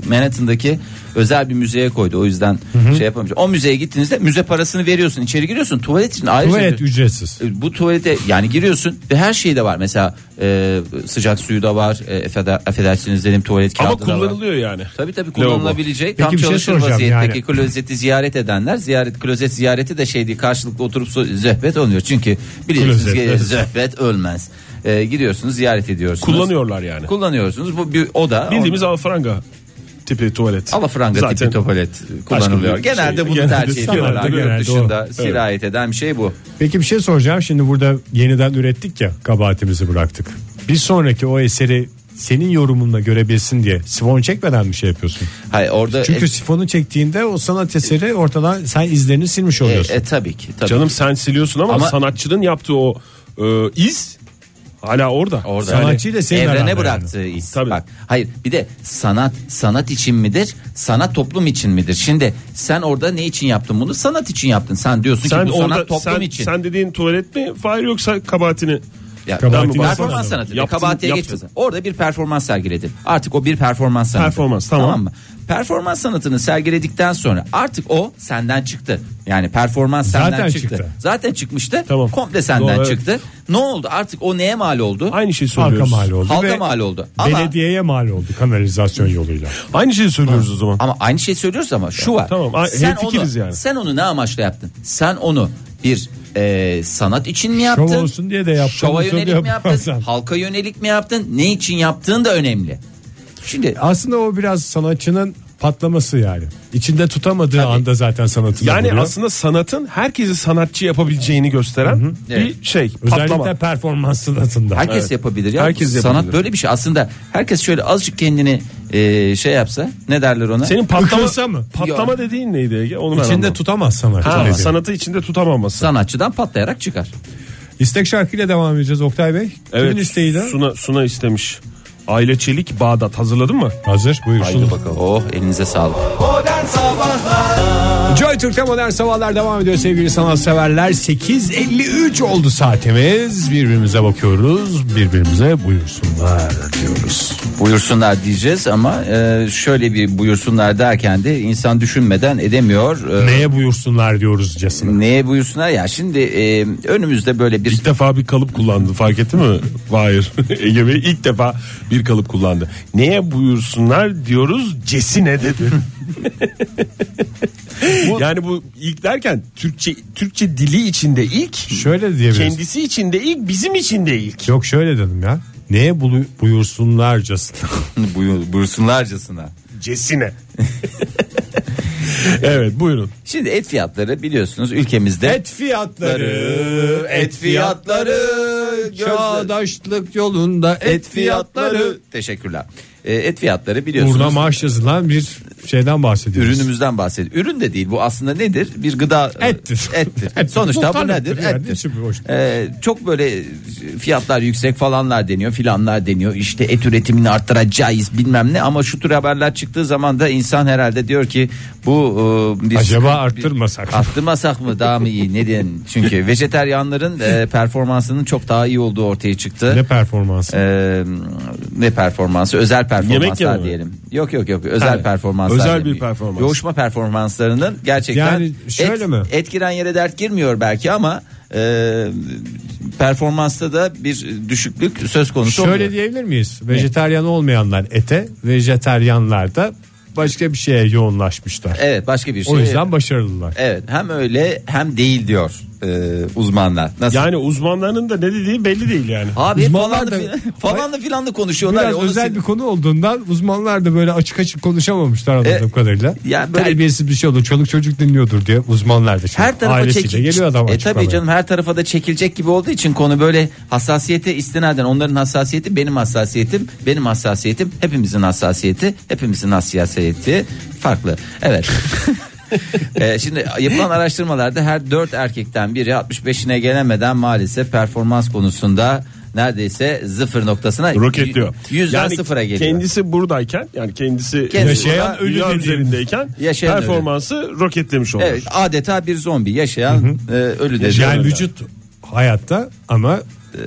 Manhattan'daki özel bir müzeye koydu. O yüzden şey yapamayacak. O müzeye gittiğinizde müze parasını veriyorsun. içeri giriyorsun. Tuvalet için ayrıca
Tuvalet
bir-
ücretsiz.
E, bu tuvalete yani giriyorsun ve her şey de var. Mesela e, sıcak suyu da var. E, affeder- affedersiniz dedim tuvalet kağıdı
Ama
da var.
kullanılıyor yani.
Tabii tabii kullanılabilecek.
Peki
tam
bir şey
çalışır
soracağım
vaziyetteki
yani.
klozeti ziyaret edenler ziyaret klozet ziyareti de şey değil karşılıklı oturup so- zöhbet olmuyor. Çünkü biliyorsunuz
Klozet,
ki
evet.
zöhbet ölmez. E, giriyorsunuz ziyaret ediyorsunuz.
Kullanıyorlar yani.
Kullanıyorsunuz. Bu bir oda.
Bildiğimiz alafranga tipi tuvalet.
Alafranga
Zaten
tipi tuvalet kullanılıyor.
bir
Genelde
şey-
bunu
genelde
tercih
sanat,
ediyorlar.
genelde
Yurt
o.
dışında
Evet.
sirayet eden bir şey bu.
Peki bir şey soracağım. Şimdi burada yeniden ürettik ya kabahatimizi bıraktık. Bir sonraki o eseri senin yorumunla görebilsin diye sifon çekmeden bir şey yapıyorsun.
Hayır orada
Çünkü
e,
sifonu çektiğinde o sanat eseri ortadan sen izlerini silmiş
e,
oluyorsun.
e, tabii ki tabii.
Canım sen siliyorsun ama,
Ama-
sanatçının yaptığı o e, iz hala orada.
orada
Sanatçıyı da senin aranda
evrene
yani.
bıraktığı iz.
Tabii.
Bak hayır bir de sanat sanat için midir? Sanat toplum için midir? Şimdi sen orada ne için yaptın bunu? Sanat için yaptın. Sen diyorsun
Sen
ki bu
orada
sanat toplum
sen,
için.
sen dediğin tuvalet mi? Fahir yoksa kabahatini
Ya,
Kabahatin
performans
yapmadı mı?
sanatı.
Yaptın,
Kabahatiye
yaptın.
geçmesin. Orada bir performans sergiledi. Artık o bir performans sanatı.
Performans, tamam.
mı? Performans sanatını sergiledikten sonra artık o senden çıktı. Yani performans senden
Zaten
çıktı.
çıktı.
Zaten çıkmıştı.
Tamam.
Komple senden
Doğru, evet.
çıktı. Ne oldu? Artık o neye mal oldu?
Aynı şeyi
Halka
söylüyoruz.
mal oldu.
Halka
ve
mal oldu. Ama-
Belediyeye mal oldu kanalizasyon yoluyla.
Aynı şeyi söylüyoruz o zaman.
Ama aynı şey söylüyoruz ama şu var.
Tamam, a- hemfikiriz
onu,
yani.
Sen onu ne amaçla yaptın? Sen onu bir e, sanat için mi yaptın?
Şov olsun diye de yaptın.
Şova
olsun diye
yönelik mi yaptın?
yaparsan.
Halka yönelik mi yaptın? Ne için yaptığın da önemli. Şimdi
Aslında o biraz sanatçının patlaması yani. İçinde tutamadığı anda zaten sanatını
Yani
buluyor.
aslında sanatın herkesi sanatçı yapabileceğini gösteren bir
Evet.
şey.
Özellikle
Patlama.
performans sanatında.
herkes yapabilir ya.
Herkes
Sanat
yapabilir.
böyle bir şey. Aslında herkes şöyle azıcık kendini e, şey yapsa ne derler ona?
Senin patlama,
Hıkırsa mı?
patlama dediğin neydi Ege? Onu ben
İçinde
anlamadım.
tutamaz sanatçı.
Ha,
dediğim.
sanatı içinde tutamaması.
sanatçıdan patlayarak çıkar.
İstek şarkıyla devam edeceğiz Oktay Bey.
evet.
Kimin isteği de?
Suna, Suna istemiş. Aile Çelik Bağdat hazırladın mı?
Hazır buyursun.
Haydi bakalım.
Oh elinize sağlık.
Joy Türk'te modern sabahlar devam ediyor sevgili sanatseverler. 8.53 oldu saatimiz. Birbirimize bakıyoruz. Birbirimize buyursunlar diyoruz.
buyursunlar diyeceğiz ama e, şöyle bir buyursunlar derken de insan düşünmeden edemiyor. E,
Neye buyursunlar diyoruz cesine.
Neye buyursunlar ya şimdi e, önümüzde böyle bir
İlk defa bir kalıp kullandı fark etti mi?
(laughs)
Hayır. (laughs) Ege Bey ilk defa bir kalıp kullandı. Neye buyursunlar diyoruz cesine
(laughs)
dedi. yani bu ilk derken Türkçe Türkçe dili içinde ilk
Şöyle diyebiliriz.
kendisi içinde ilk bizim içinde ilk.
Yok şöyle dedim ya. Neye bulu- buyursunlar cesine.
Buyur- buyursunlarcasına.
(laughs)
Cesine. evet buyurun.
Şimdi et fiyatları biliyorsunuz ülkemizde
Et fiyatları,
et fiyatları,
çağdaşlık yolunda et fiyatları.
teşekkürler. E, et fiyatları biliyorsunuz.
Burada maaş yazılan bir şeyden bahsediyoruz.
ürünümüzden bahsediyor. Ürün de değil bu aslında nedir? Bir gıda e,
Ettir.
ettir.
(laughs) Ettir.
Sonuçta bu
Muhtar
nedir?
ettir yani.
Ettir.
İçi bir boş.
Ee, çok böyle fiyatlar yüksek falanlar deniyor filanlar deniyor. İşte et üretimini arttıracağız bilmem ne ama şu tür haberler çıktığı zaman da insan herhalde diyor ki bu e, bir
Acaba
bir-
arttırmasak mı?
arttırmasak mı daha mı iyi? Neden?
(laughs)
Çünkü vejeteryanların e, performansının çok daha iyi olduğu ortaya çıktı
Ne performansı?
e, ne performansı özel
Yemek yeme
performanslar
mi?
diyelim. Yok yok yok özel
Ha,
performanslar.
özel
diyeyim.
bir performans.
Yoğuşma performanslarının gerçekten
Yani şöyle
et,
mi?
et giren yere dert girmiyor belki ama e, performansta da bir düşüklük söz konusu
Şöyle
oluyor.
diyebilir miyiz? Vejeteryan olmayanlar ete, vejeteryanlar da başka bir şeye yoğunlaşmışlar.
Evet başka bir şey.
o yüzden başarılılar.
Evet hem öyle hem değil diyor e, uzmanlar. Nasıl?
Yani uzmanların da ne dediği belli değil yani.
Abi
uzmanlar
falanlı
da-
filan- (laughs) falanlı filanlı konuşuyorlar.
Biraz
ya, onu
özel
sil-
bir konu olduğundan uzmanlar da böyle açık açık konuşamamışlar anladığım
E,
kadarıyla.
yani böyle-
Terbiyesiz bir şey olur. Çoluk çocuk dinliyordur diye uzmanlar da. şimdi
Her tarafa
ailesiyle
çekil-
geliyor adam
E
açıklamaya.
tabii canım her tarafa da çekilecek gibi olduğu için konu böyle hassasiyete istinaden onların hassasiyeti benim hassasiyetim, benim hassasiyetim, hepimizin hassasiyeti, hepimizin hassasiyeti farklı.
(laughs)
Evet. E, şimdi yapılan araştırmalarda her dört erkekten biri 65'ine gelemeden maalesef performans konusunda neredeyse sıfır noktasına
Roketliyor.
Yüzden sıfıra geliyor.
Kendisi buradayken yani kendisi,
Kendisi
yaşayan
burada,
ölü
dünya
üzerindeyken
Yaşayan ölü.
performansı roketlemiş olur.
Evet, adeta bir zombi yaşayan e, ölü dedi.
Yani vücut hayatta ama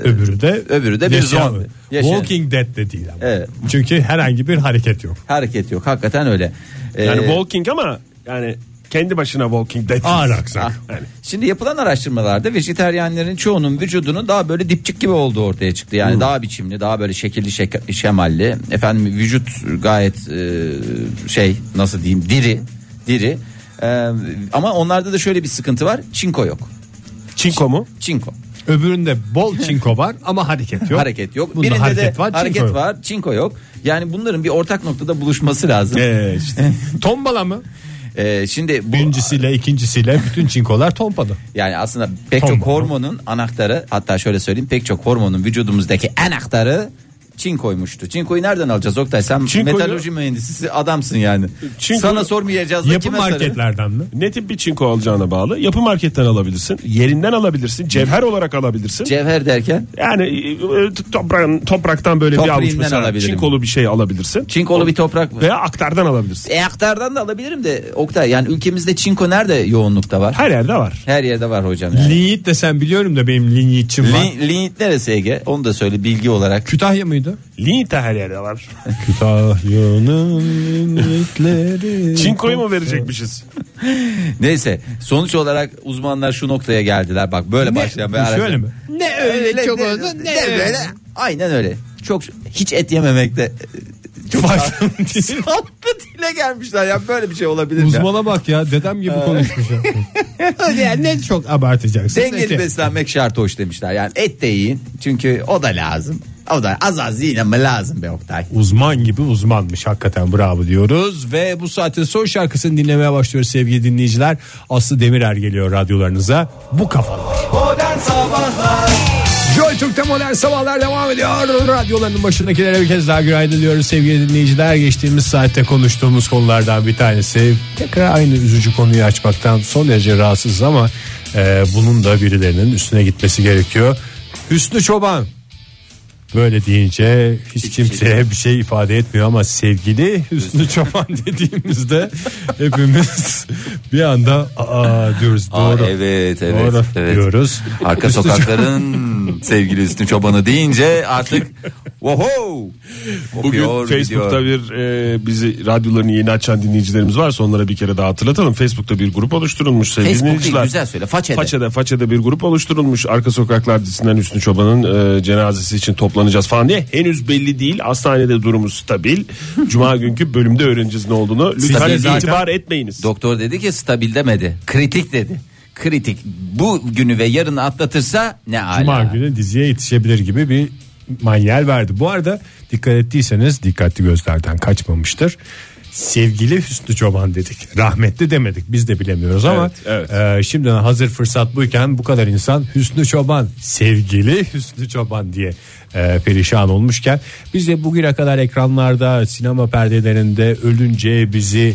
öbürü de
E, öbürü de bir
yaşayan.
zombi. Yaşayan.
Walking Dead de değil ama.
Evet.
Çünkü herhangi bir hareket yok.
Hareket yok hakikaten öyle. E,
Yani walking ama yani kendi başına walking dead.
Ağır
Ah.
aksak.
Yani
Şimdi yapılan araştırmalarda vejeteryenlerin çoğunun vücudunun daha böyle dipçik gibi olduğu ortaya çıktı.
Hmm.
Yani daha biçimli, daha böyle şekilli, şek- şemalli. Efendim vücut gayet e, şey nasıl diyeyim diri, diri. E, ama onlarda da şöyle bir sıkıntı var. Çinko yok.
Çinko mu?
Çinko.
Öbüründe bol çinko var ama hareket yok.
Hareket yok.
Bunda
Birinde
hareket
de
var,
hareket
çinko yok.
var, çinko yok. Yani bunların bir ortak noktada buluşması lazım.
Ee, işte.
E, Tombala mı?
E, şimdi bu
Birincisiyle ikincisiyle bütün çinkolar tombala.
Yani aslında pek
Tamam.
çok hormonun anahtarı hatta şöyle söyleyeyim pek çok hormonun vücudumuzdaki anahtarı Çinko'ymuştu. Çinko'yu nereden alacağız Oktay? Sen
Çinko'yu-
metalurji mühendisisi adamsın yani.
Çinko-
Sana sormayacağız. da
Yapı
kime sorarız?
marketlerden mi?
Ne tip bir çinko alacağına bağlı. Yapı marketten alabilirsin. Yerinden alabilirsin. Cevher olarak alabilirsin.
Cevher derken
yani e, e, toprağın, topraktan böyle bir avuç
Toprağından
mesela
alabilirim.
çinkolu bir şey alabilirsin.
çinkolu bir toprak mı?
Veya aktardan alabilirsin.
E aktardan da alabilirim de Oktay yani ülkemizde çinko nerede yoğunlukta var?
Her yerde var.
Her yerde var hocam yani.
Linyit desem biliyorum da benim linyitçim var.
Lin- Linyit neresi Ege? Onu da söyle bilgi olarak.
Kütahya mıydı?
Linit de her
(laughs)
yerde var.
Kütahya'nın (laughs) linyitleri.
Çinkoyu mu verecekmişiz?
Neyse sonuç olarak uzmanlar şu noktaya geldiler. Bak böyle
Ne?
başlayan bir
Şöyle
araştırma.
(laughs) mi?
Ne öyle, çok ne, ne böyle. Aynen öyle. Çok hiç et yememekte çok (laughs) Sohbet dile gelmişler ya böyle bir şey olabilir mi? (laughs) Hani ya?
şey. Uzmana bak ya dedem gibi konuşmuş. (laughs) yani ne çok abartacaksın.
Dengeli beslenmek şart hoş demişler. Yani et de yiyin çünkü o da lazım. O da az az yiyin ama lazım be Oktay.
Uzman gibi uzmanmış hakikaten bravo diyoruz. Ve bu saatin son şarkısını dinlemeye başlıyoruz sevgili dinleyiciler. Aslı Demirer geliyor radyolarınıza. Bu kafalar. Joy Türk'te modern sabahlar devam ediyor. Radyoların başındakilere bir kez daha günaydın diyoruz sevgili dinleyiciler. Geçtiğimiz saatte konuştuğumuz konulardan bir tanesi. Tekrar aynı üzücü konuyu açmaktan son derece rahatsızız ama e, bunun da birilerinin üstüne gitmesi gerekiyor. Hüsnü Çoban. Böyle deyince hiç kimseye bir şey ifade etmiyor ama sevgili Hüsnü Çoban (laughs) dediğimizde hepimiz bir anda aa diyoruz
Aa,
doğru.
evet evet.
Doğru
evet.
diyoruz.
Arka
Hüsnü
sokakların sevgili Üstün Çoban'ı deyince
(laughs)
artık Woho!
Bugün
Kopuyor,
Facebook'ta
gidiyor.
bir e, bizi radyolarını yeni açan dinleyicilerimiz varsa onlara bir kere daha hatırlatalım. Facebook'ta bir grup oluşturulmuş sevgili
Facebook değil,
dinleyiciler.
güzel söyle, Façede.
Façede, Façede bir grup oluşturulmuş. Arka Sokaklar dizisinden Hüsnü Çoban'ın e, cenazesi için toplanacağız falan diye. Henüz belli değil. Hastanede
(laughs)
durumu stabil. Cuma günkü bölümde öğreneceğiz ne olduğunu. Lütfen
Stabil zaten.
itibar etmeyiniz.
Doktor dedi ki stabil demedi. Kritik dedi. Kritik. Bu günü ve yarını atlatırsa ne ala.
Cuma günü diziye yetişebilir gibi bir manyel verdi. Bu arada dikkat ettiyseniz dikkatli gözlerden kaçmamıştır. Sevgili Hüsnü Çoban dedik. Rahmetli demedik. Biz de bilemiyoruz ama
Evet,
e, şimdiden hazır fırsat buyken bu kadar insan Hüsnü Çoban, sevgili Hüsnü Çoban diye e, perişan olmuşken biz de bugüne kadar ekranlarda, sinema perdelerinde ölünce bizi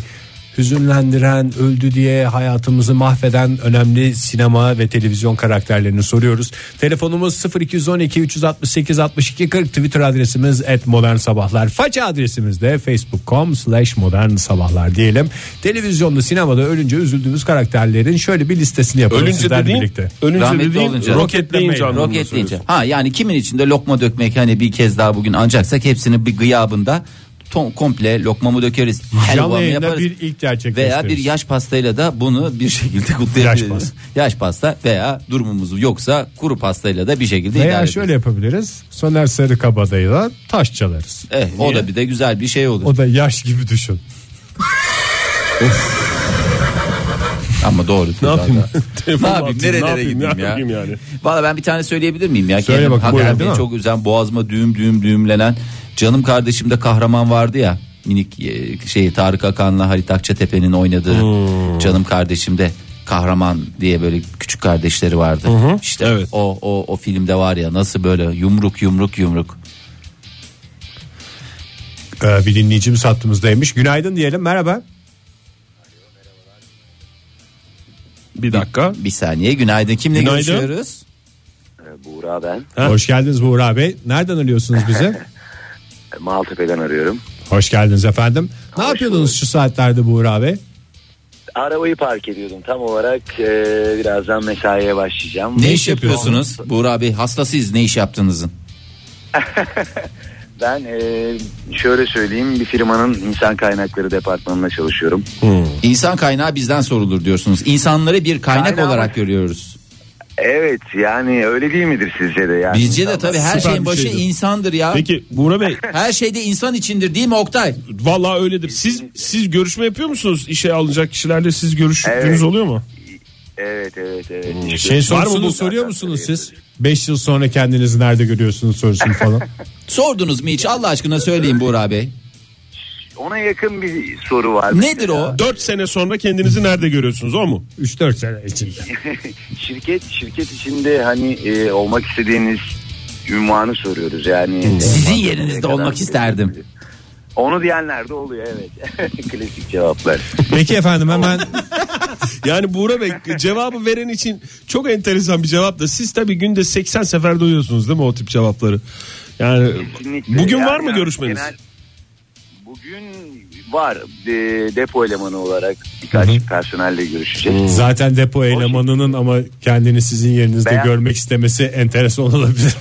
hüzünlendiren, öldü diye hayatımızı mahveden önemli sinema ve televizyon karakterlerini soruyoruz. Telefonumuz 0212 368 62 40 Twitter adresimiz et modern sabahlar. Faça adresimiz de facebook.com slash modern sabahlar diyelim. Televizyonda sinemada ölünce üzüldüğümüz karakterlerin şöyle bir listesini yapalım
Ölünce
sizlerle
dediğin,
birlikte.
ölünce
Rahmetli
dediğin
olunca.
roketleyince anlamında
Roketleyince.
söylüyorsun.
Ha yani kimin içinde lokma dökmek hani bir kez daha bugün ancaksak hepsini bir gıyabında tom, komple lokmamı dökeriz.
Canlı
Helvamı
yayında
yaparız.
bir ilk
veya bir
gerçekleştiririz.
yaş pastayla da bunu bir şekilde kutlayabiliriz.
Yaş pasta.
(laughs) Yaş pasta veya durumumuz yoksa kuru pastayla da bir şekilde idare
Veya
ederiz.
şöyle yapabiliriz. Soner Sarıkabadayı'la taş çalarız.
Eh, o da bir de güzel bir şey olur.
O da yaş gibi düşün.
Ama doğru.
Ne yapayım?
Ne
(laughs) Telefonu
yapayım?
atayım,
Nerelere
yapayım,
gideyim
ne
ya?
yapayım yani?
Valla ben bir tane söyleyebilir miyim ya?
Söyle
Kendim
bakayım,
hakikaten
buyurun,
beni
değil mi?
çok üzen boğazıma düğüm düğüm düğümlenen canım kardeşimde kahraman vardı ya. Minik e, şey Tarık Akan'la Halit Akçatepe'nin oynadığı
Hmm.
canım kardeşimde kahraman diye böyle küçük kardeşleri vardı. İşte
evet.
o, o, o filmde var ya nasıl böyle yumruk yumruk yumruk.
Ee, bir dinleyicimiz hattımızdaymış. Günaydın diyelim merhaba.
Bir dakika.
Bir saniye günaydın. Kimle
Günaydın.
görüşüyoruz?
Ee, Buğra ben.
Ha.
Hoş geldiniz Buğra Bey. Nereden arıyorsunuz
(laughs)
bizi?
Ee, Maltepe'den arıyorum.
Hoş geldiniz efendim. Ne
Hoş
yapıyordunuz
bulduk.
şu saatlerde Buğra Bey?
Arabayı park ediyordum tam olarak. ee, birazdan mesaiye başlayacağım.
Ne iş yapıyorsunuz? Buğra Bey hastasıyız ne iş yaptığınızın.
Ben ee, şöyle söyleyeyim bir firmanın insan kaynakları departmanında çalışıyorum.
İnsan kaynağı bizden sorulur diyorsunuz. İnsanları bir kaynak
Kaynağı
olarak görüyoruz.
Evet yani öyle değil midir sizce de? Yani
Bizce de tabii her
Süper
şeyin
bir
başı
şeydir.
insandır ya.
Peki Buğra Bey
Her şeyde insan içindir değil mi Oktay?
Vallahi öyledir. Siz siz görüşme yapıyor musunuz? İşe alınacak kişilerle siz görüştüğünüz
Evet.
oluyor mu?
Evet evet evet.
Şey
Var mı
sorusunu
bu?
soruyor musunuz siz? 5 yıl sonra kendinizi nerede görüyorsunuz sorusunu
(laughs)
falan.
Sordunuz mu hiç Allah aşkına söyleyin Buğra Bey.
Ona yakın bir soru var.
Nedir o?
4 sene sonra kendinizi nerede görüyorsunuz o mu?
3-4 sene içinde.
(laughs) şirket şirket içinde hani ee, olmak e, istediğiniz ünvanı soruyoruz yani. e,
Sizin
Mansur Bey'e
yerinizde
kadar
olmak
bir-
isterdim.
Onu diyenler de oluyor evet. (laughs) Klasik cevaplar.
Peki efendim hemen
(laughs) Yani Buğra Bey cevabı veren için çok enteresan bir cevap da siz tabii günde 80 sefer duyuyorsunuz değil mi o tip cevapları? Yani
Kesinlikle.
bugün
Yani
var mı görüşmeniz?
genel- bugün var. De- depo elemanı olarak birkaç personelle görüşeceğiz.
zaten depo elemanının ama kendini sizin yerinizde
Beğen-
görmek istemesi enteresan olabilir.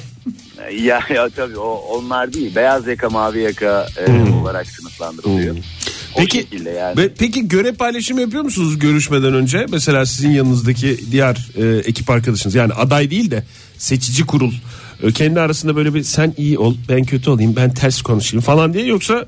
Ya, ya tabii o, onlar değil. Beyaz yaka mavi yaka e, olarak sınıflandırılıyor. O
Peki
şekilde yani.
ve- peki görev paylaşımı yapıyor musunuz görüşmeden önce? Mesela sizin yanınızdaki diğer e, ekip arkadaşınız yani aday değil de seçici kurul e, kendi arasında böyle bir sen iyi ol ben kötü olayım ben ters konuşayım falan diye yoksa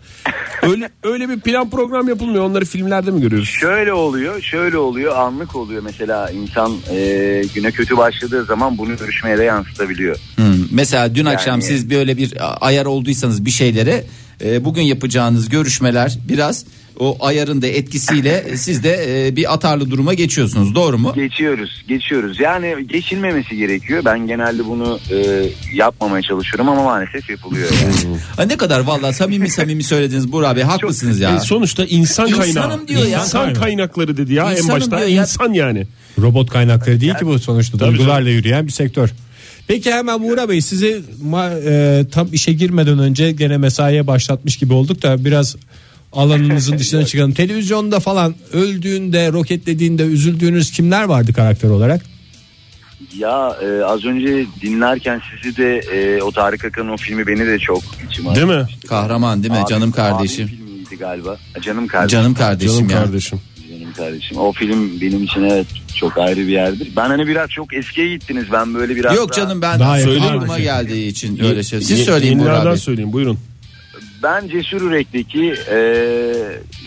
öyle öyle bir plan program yapılmıyor onları filmlerde mi görüyoruz?
Şöyle oluyor, şöyle oluyor, anlık oluyor. Mesela insan e, güne kötü başladığı zaman bunu görüşmeye de yansıtabiliyor.
Hmm, Mesela dün akşam
Yani-
siz böyle bir a- ayar olduysanız bir şeylere e, bugün yapacağınız görüşmeler biraz o ayarın da etkisiyle siz de e, bir atarlı duruma geçiyorsunuz doğru mu?
Geçiyoruz, geçiyoruz. Yani geçilmemesi gerekiyor. Ben genelde bunu e, yapmamaya çalışıyorum ama maalesef yapılıyor. Yani.
Ha, ne kadar vallahi samimi samimi söylediniz Burak abi haklısınız
E,
ya.
sonuçta insan
İnsanım
kaynağı.
diyor ya.
İnsan kaynakları dedi ya
İnsanım
en başta.
diyor ya.
İnsan yani.
Robot kaynakları değil ki bu sonuçta
Tabii
duygularla yürüyen bir sektör. Peki hemen Buğra Bey sizi ma- e, tam işe girmeden önce gene mesaiye başlatmış gibi olduk da biraz alanınızın
(laughs)
dışına çıkalım. Televizyonda falan öldüğünde, roketlediğinde üzüldüğünüz kimler vardı karakter olarak?
ya e, az önce dinlerken sizi de e, o Tarık Akan'ın o filmi beni de çok içime
Değil mi?
Kahraman değil mi
Abi-
canım
Abi
kardeşim.
filmiydi galiba. Canım kardeşim.
Canım kardeşim
Canım
ya.
kardeşim.
Canım kardeşim. O film benim için evet çok ayrı bir yerdir. Ben hani biraz çok eskiye gittiniz. Ben böyle biraz
Yok
daha-
canım ben
Daha yakın
aklıma
abi.
geldiği için öyle şey. Siz
Ye-
söyleyin Burak
yenilerden
abi.
söyleyin buyurun.
Ben Cesur Ürek'teki
e,
eee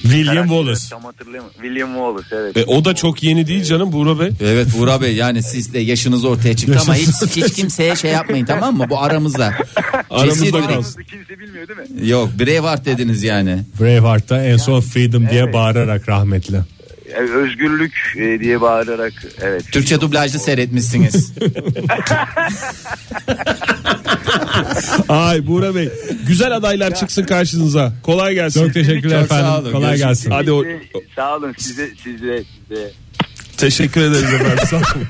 William
karakteri
Wallace.
Tam hatırlayamadım. William Wallace evet.
E, o da çok yeni değil canım Buğra Bey.
Evet Burak Bey yani siz de yaşınız ortaya çıktı ama hiç, hiç kimseye şey yapmayın tamam mı? Bu aramızda.
Aramızda
Cesur-
kalsın.
Aramızda kimse bilmiyor değil mi?
Yok Braveheart dediniz yani.
Braveheart'ta en son Freedom diye bağırarak rahmetli.
E, özgürlük e, diye bağırarak evet.
Türkçe dublajlı seyretmişsiniz.
Ay Buğra Bey güzel adaylar çıksın karşınıza. Kolay gelsin.
Çok teşekkürler
Çok sağ
efendim.
olun.
Kolay
Görüşmek
gelsin.
Hadi o-
Size- sağ olun size size size.
Teşekkür ederiz efendim.
(laughs)
Sağ olun.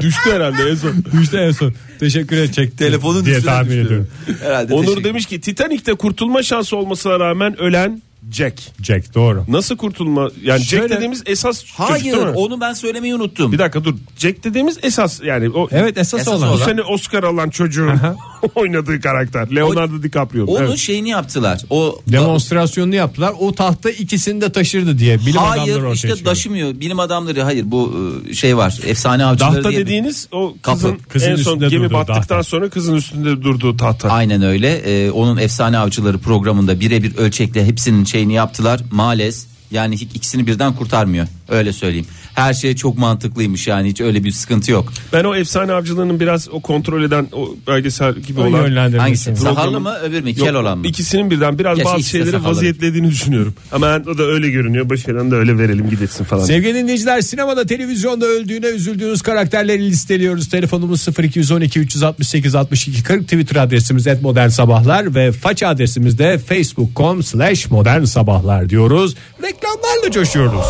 Düştü herhalde en son.
Müjde en son. Teşekkür edecek.
Telefonun
diye
üstüne
tahmin
düştü.
ediyorum.
Herhalde
Onur
teşekkür-
demiş ki Titanik'te kurtulma şansı olmasına rağmen ölen Jack.
Jack doğru.
Nasıl kurtulma? Yani Jack
Şöyle-
dediğimiz esas çocuk
Hayır
değil mi?
onu ben söylemeyi unuttum.
Bir dakika dur. Jack dediğimiz esas yani o
Evet esas,
Esas
olan.
Bu
olan.
sene Oscar alan çocuğun (laughs) oynadığı karakter. Leonardo DiCaprio.
Onun
Evet.
şeyini yaptılar. O
Demonstrasyonunu yaptılar. O tahta ikisini de taşırdı diye bilim adamları
Hayır
ortaya
işte
çıkardı.
daşımıyor. Bilim adamları hayır bu e, şey var. Efsane avcıları
Tahta
diye bir-
dediğiniz o
Kapı.
kızın,
Kızın
en son
üstünde
gemi
durduğu
battıktan
tahta.
sonra kızın üstünde durduğu
(laughs)
tahta.
Aynen öyle. E, onun efsane avcıları programında birebir ölçekle hepsinin şeyini yaptılar. Maalesef yani hiç ikisini birden kurtarmıyor. Öyle söyleyeyim. Her şey çok mantıklıymış yani hiç öyle bir sıkıntı yok.
Ben o efsane avcılığının biraz o kontrol eden o belgesel gibi
O
olan
yönlendirmesi.
Hangisi?
Programın-
Sakallı mı öbür mü?
Yok,
Kel olan mı?
İkisinin birden biraz
Keşke
bazı
ikisi de
şeyleri
sakallı.
vaziyetlediğini düşünüyorum. Ama o da öyle görünüyor. Başarıdan da öyle verelim gidetsin falan.
Sevgili dinleyiciler sinemada televizyonda öldüğüne üzüldüğünüz karakterleri listeliyoruz. Telefonumuz 0212 368 62 40 Twitter adresimiz et modern sabahlar ve faça adresimiz de facebook.com slash modern sabahlar diyoruz. Reklamlarla coşuyoruz.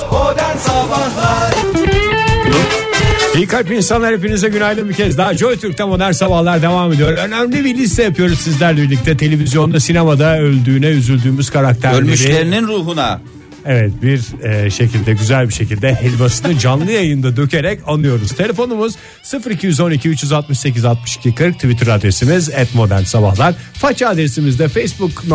İyi kalp insanlar hepinize günaydın bir kez daha. Joy Türk'te modern sabahlar devam ediyor. Önemli bir liste yapıyoruz sizlerle birlikte. Televizyonda sinemada öldüğüne üzüldüğümüz karakterleri.
Ölmüşlerinin ruhuna.
Evet bir e, şekilde güzel bir şekilde helvasını canlı yayında dökerek anıyoruz. Telefonumuz 0212 368 62 40 Twitter adresimiz et modern sabahlar. Faça adresimiz de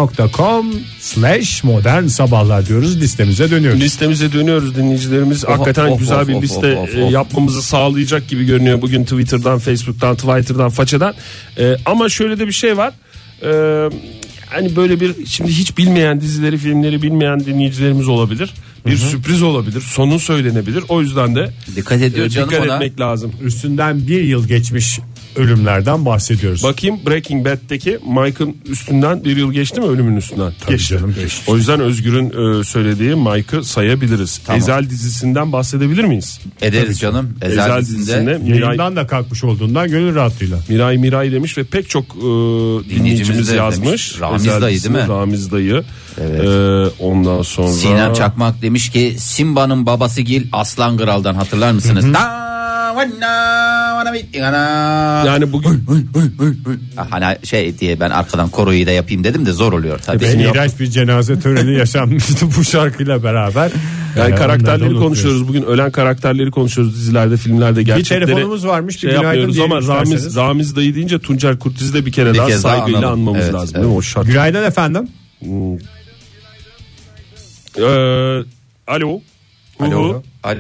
facebook.com slash modern sabahlar diyoruz listemize dönüyoruz.
Listemize dönüyoruz dinleyicilerimiz. Hakikaten
of,
güzel
of,
bir
of,
liste
of, of,
e,
of.
yapmamızı sağlayacak gibi görünüyor. Bugün Twitter'dan, Facebook'tan, Twitter'dan, Faça'dan. E, ama şöyle de bir şey var. E, hani böyle bir şimdi hiç bilmeyen dizileri, filmleri bilmeyen dinleyicilerimiz olabilir. Bir sürpriz olabilir. Sonu söylenebilir. O yüzden de
Dikkat ediyor
e,
canım
dikkat
ona.
etmek lazım.
Üstünden bir yıl geçmiş ölümlerden bahsediyoruz.
Bakayım Breaking Bad'deki Mike'ın üstünden bir yıl geçti mi ölümün üstünden? geçti.
canım, geçti.
O yüzden Özgür'ün e, söylediği Mike'ı sayabiliriz. Ezel dizisinden bahsedebilir miyiz?
Ederiz canım. Ezel,
Ezel
dizisinde
dizisinde Miray,
Yayından da kalkmış olduğundan gönül rahatlığıyla.
Miray Miray demiş ve pek çok e, dinleyicimiz
de
yazmış.
demiş. Ramiz
Ezel
dayı
dizisinde
değil mi?
Ramiz dayı. E, ondan sonra...
Sinem Çakmak demiş ki Simba'nın babası Gil Aslan Kral'dan hatırlar mısınız? Da- vanna- vana bitti- ana.
Yani bugün
Ah, Hani şey diye ben arkadan koroyu da yapayım dedim de zor oluyor tabii.
E, Ben iğrenç bir cenaze töreni yaşanmıştı bu şarkıyla beraber.
yani
Ee,
karakterleri
onları da
konuşuyoruz. Bugün ölen karakterleri konuşuyoruz dizilerde, filmlerde,
Bir
gerçekleri.
telefonumuz varmış. Bir
şey
günaydın
yapmıyoruz
diyelim
ama Ramiz,
isterseniz.
Ramiz dayı deyince Tuncer Kurtiz'i de bir kere
Bir
daha
kez daha
saygıyla
analım.
anmamız
Evet,
lazım.
evet.
Değil mi? O şart.
Günaydın efendim.
Ee, alo. Alo.
Al-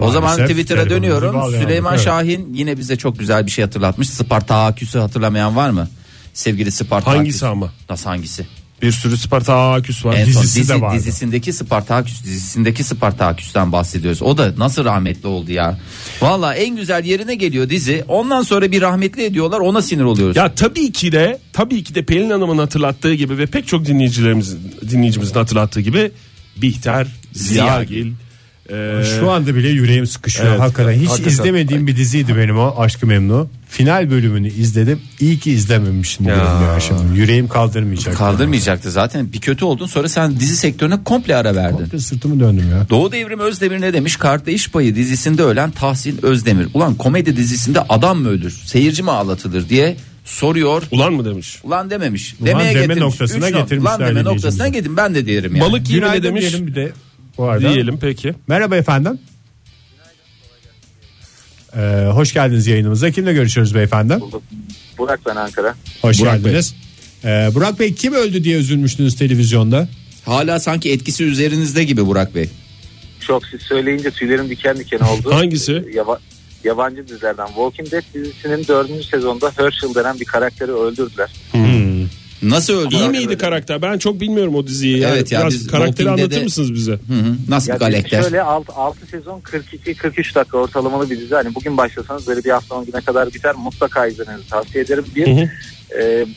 O zaman
Maalesef
Twitter'a
telefonumuzu
dönüyorum.
bağlayamadık,
Süleyman
evet.
Şahin yine bize çok güzel bir şey hatırlatmış. Spartaküs'ü hatırlamayan var mı? Sevgili Spartaküs.
Hangisi ama?
Nasıl hangisi?
Bir sürü Sparta Aküs var.
En son
dizisi de
dizi-
vardı.
dizisindeki Spartaküs dizisindeki Spartaküs'ten bahsediyoruz. O da nasıl rahmetli oldu ya. Valla en güzel yerine geliyor dizi. Ondan sonra bir rahmetli ediyorlar ona sinir oluyoruz.
Ya tabii ki de tabii ki de Pelin Hanım'ın hatırlattığı gibi ve pek çok dinleyicilerimizin dinleyicimizin hatırlattığı gibi Bihter, Ziyagil, e,
Şu anda bile yüreğim sıkışıyor
Evet,
hakikaten. Hiç
hakikaten.
izlemediğim bir diziydi benim o Aşkı Memnu. Final bölümünü izledim. İyi ki izlememişim dedim ya. şimdi. Yüreğim kaldırmayacak.
Kaldırmayacaktı zaten. Bir kötü oldun sonra sen dizi sektörüne komple ara verdin.
Bir Sırtımı döndüm ya.
Doğu Devrim Özdemir ne demiş? Kartta İş Payı dizisinde ölen Tahsin Özdemir. Ulan komedi dizisinde adam mı ölür? Seyirci mi ağlatılır diye soruyor.
Ulan mı demiş?
Ulan dememiş.
Ulan deme noktasına
Üç nok-
getirmişler
Ulan deme
dinleyicimizi.
noktasına gidin ben de diyerim yani.
Balık yemi ne
Günaydın
demiş?
diyelim bir de. Bu arada.
Diyelim peki.
Merhaba efendim. Ee, hoş geldiniz yayınımıza. Kimle görüşüyoruz beyefendi?
Burak ben Ankara.
Hoş
Burak
geldiniz. Ee, Burak Bey kim öldü diye üzülmüştünüz televizyonda?
Hala sanki etkisi üzerinizde gibi Burak Bey.
Çok siz söyleyince tüylerim diken diken oldu. E,
Hangisi?
Yaba- yabancı dizilerden. Walking Dead dizisinin dördüncü sezonda Herschel denen bir karakteri öldürdüler.
Nasıl öldü?
İyi
Burak?
miydi karakter? Ben çok bilmiyorum o diziyi. ya.
Evet ya,
Biraz
biz
karakteri
Walking
anlatır
Dead'e-
mısınız bize?
Hı hı. Nasıl
Ya
bir
dizi
galakter?
Şöyle 6, sezon 42-43 dakika ortalamalı bir dizi. Hani bugün başlasanız böyle bir hafta on güne kadar biter. Mutlaka izlemenizi tavsiye ederim. Bir, e,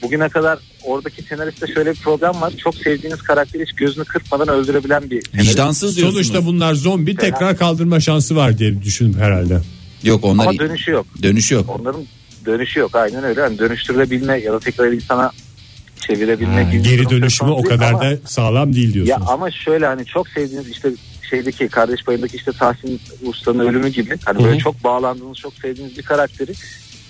bugüne kadar oradaki senaristte şöyle bir problem var. Çok sevdiğiniz karakteri hiç gözünü kırpmadan öldürebilen bir senarist.
Vicdansız diyorsunuz.
Sonuçta bunlar zombi tekrar kaldırma şansı var diye düşündüm herhalde.
Yok onlar
Ama dönüşü yok.
dönüşü yok.
Onların dönüşü yok. Aynen öyle. Yani dönüştürülebilme ya da tekrar insana çevirebilme gibi. bir
Geri
durum
dönüşümü
söz
o
konusu
kadar
ama-
da sağlam değil
Ya
diyorsunuz.
ama şöyle hani çok sevdiğiniz işte şeydeki kardeş payındaki işte Tahsin Usta'nın ölümü gibi hani böyle çok bağlandığınız çok sevdiğiniz bir karakteri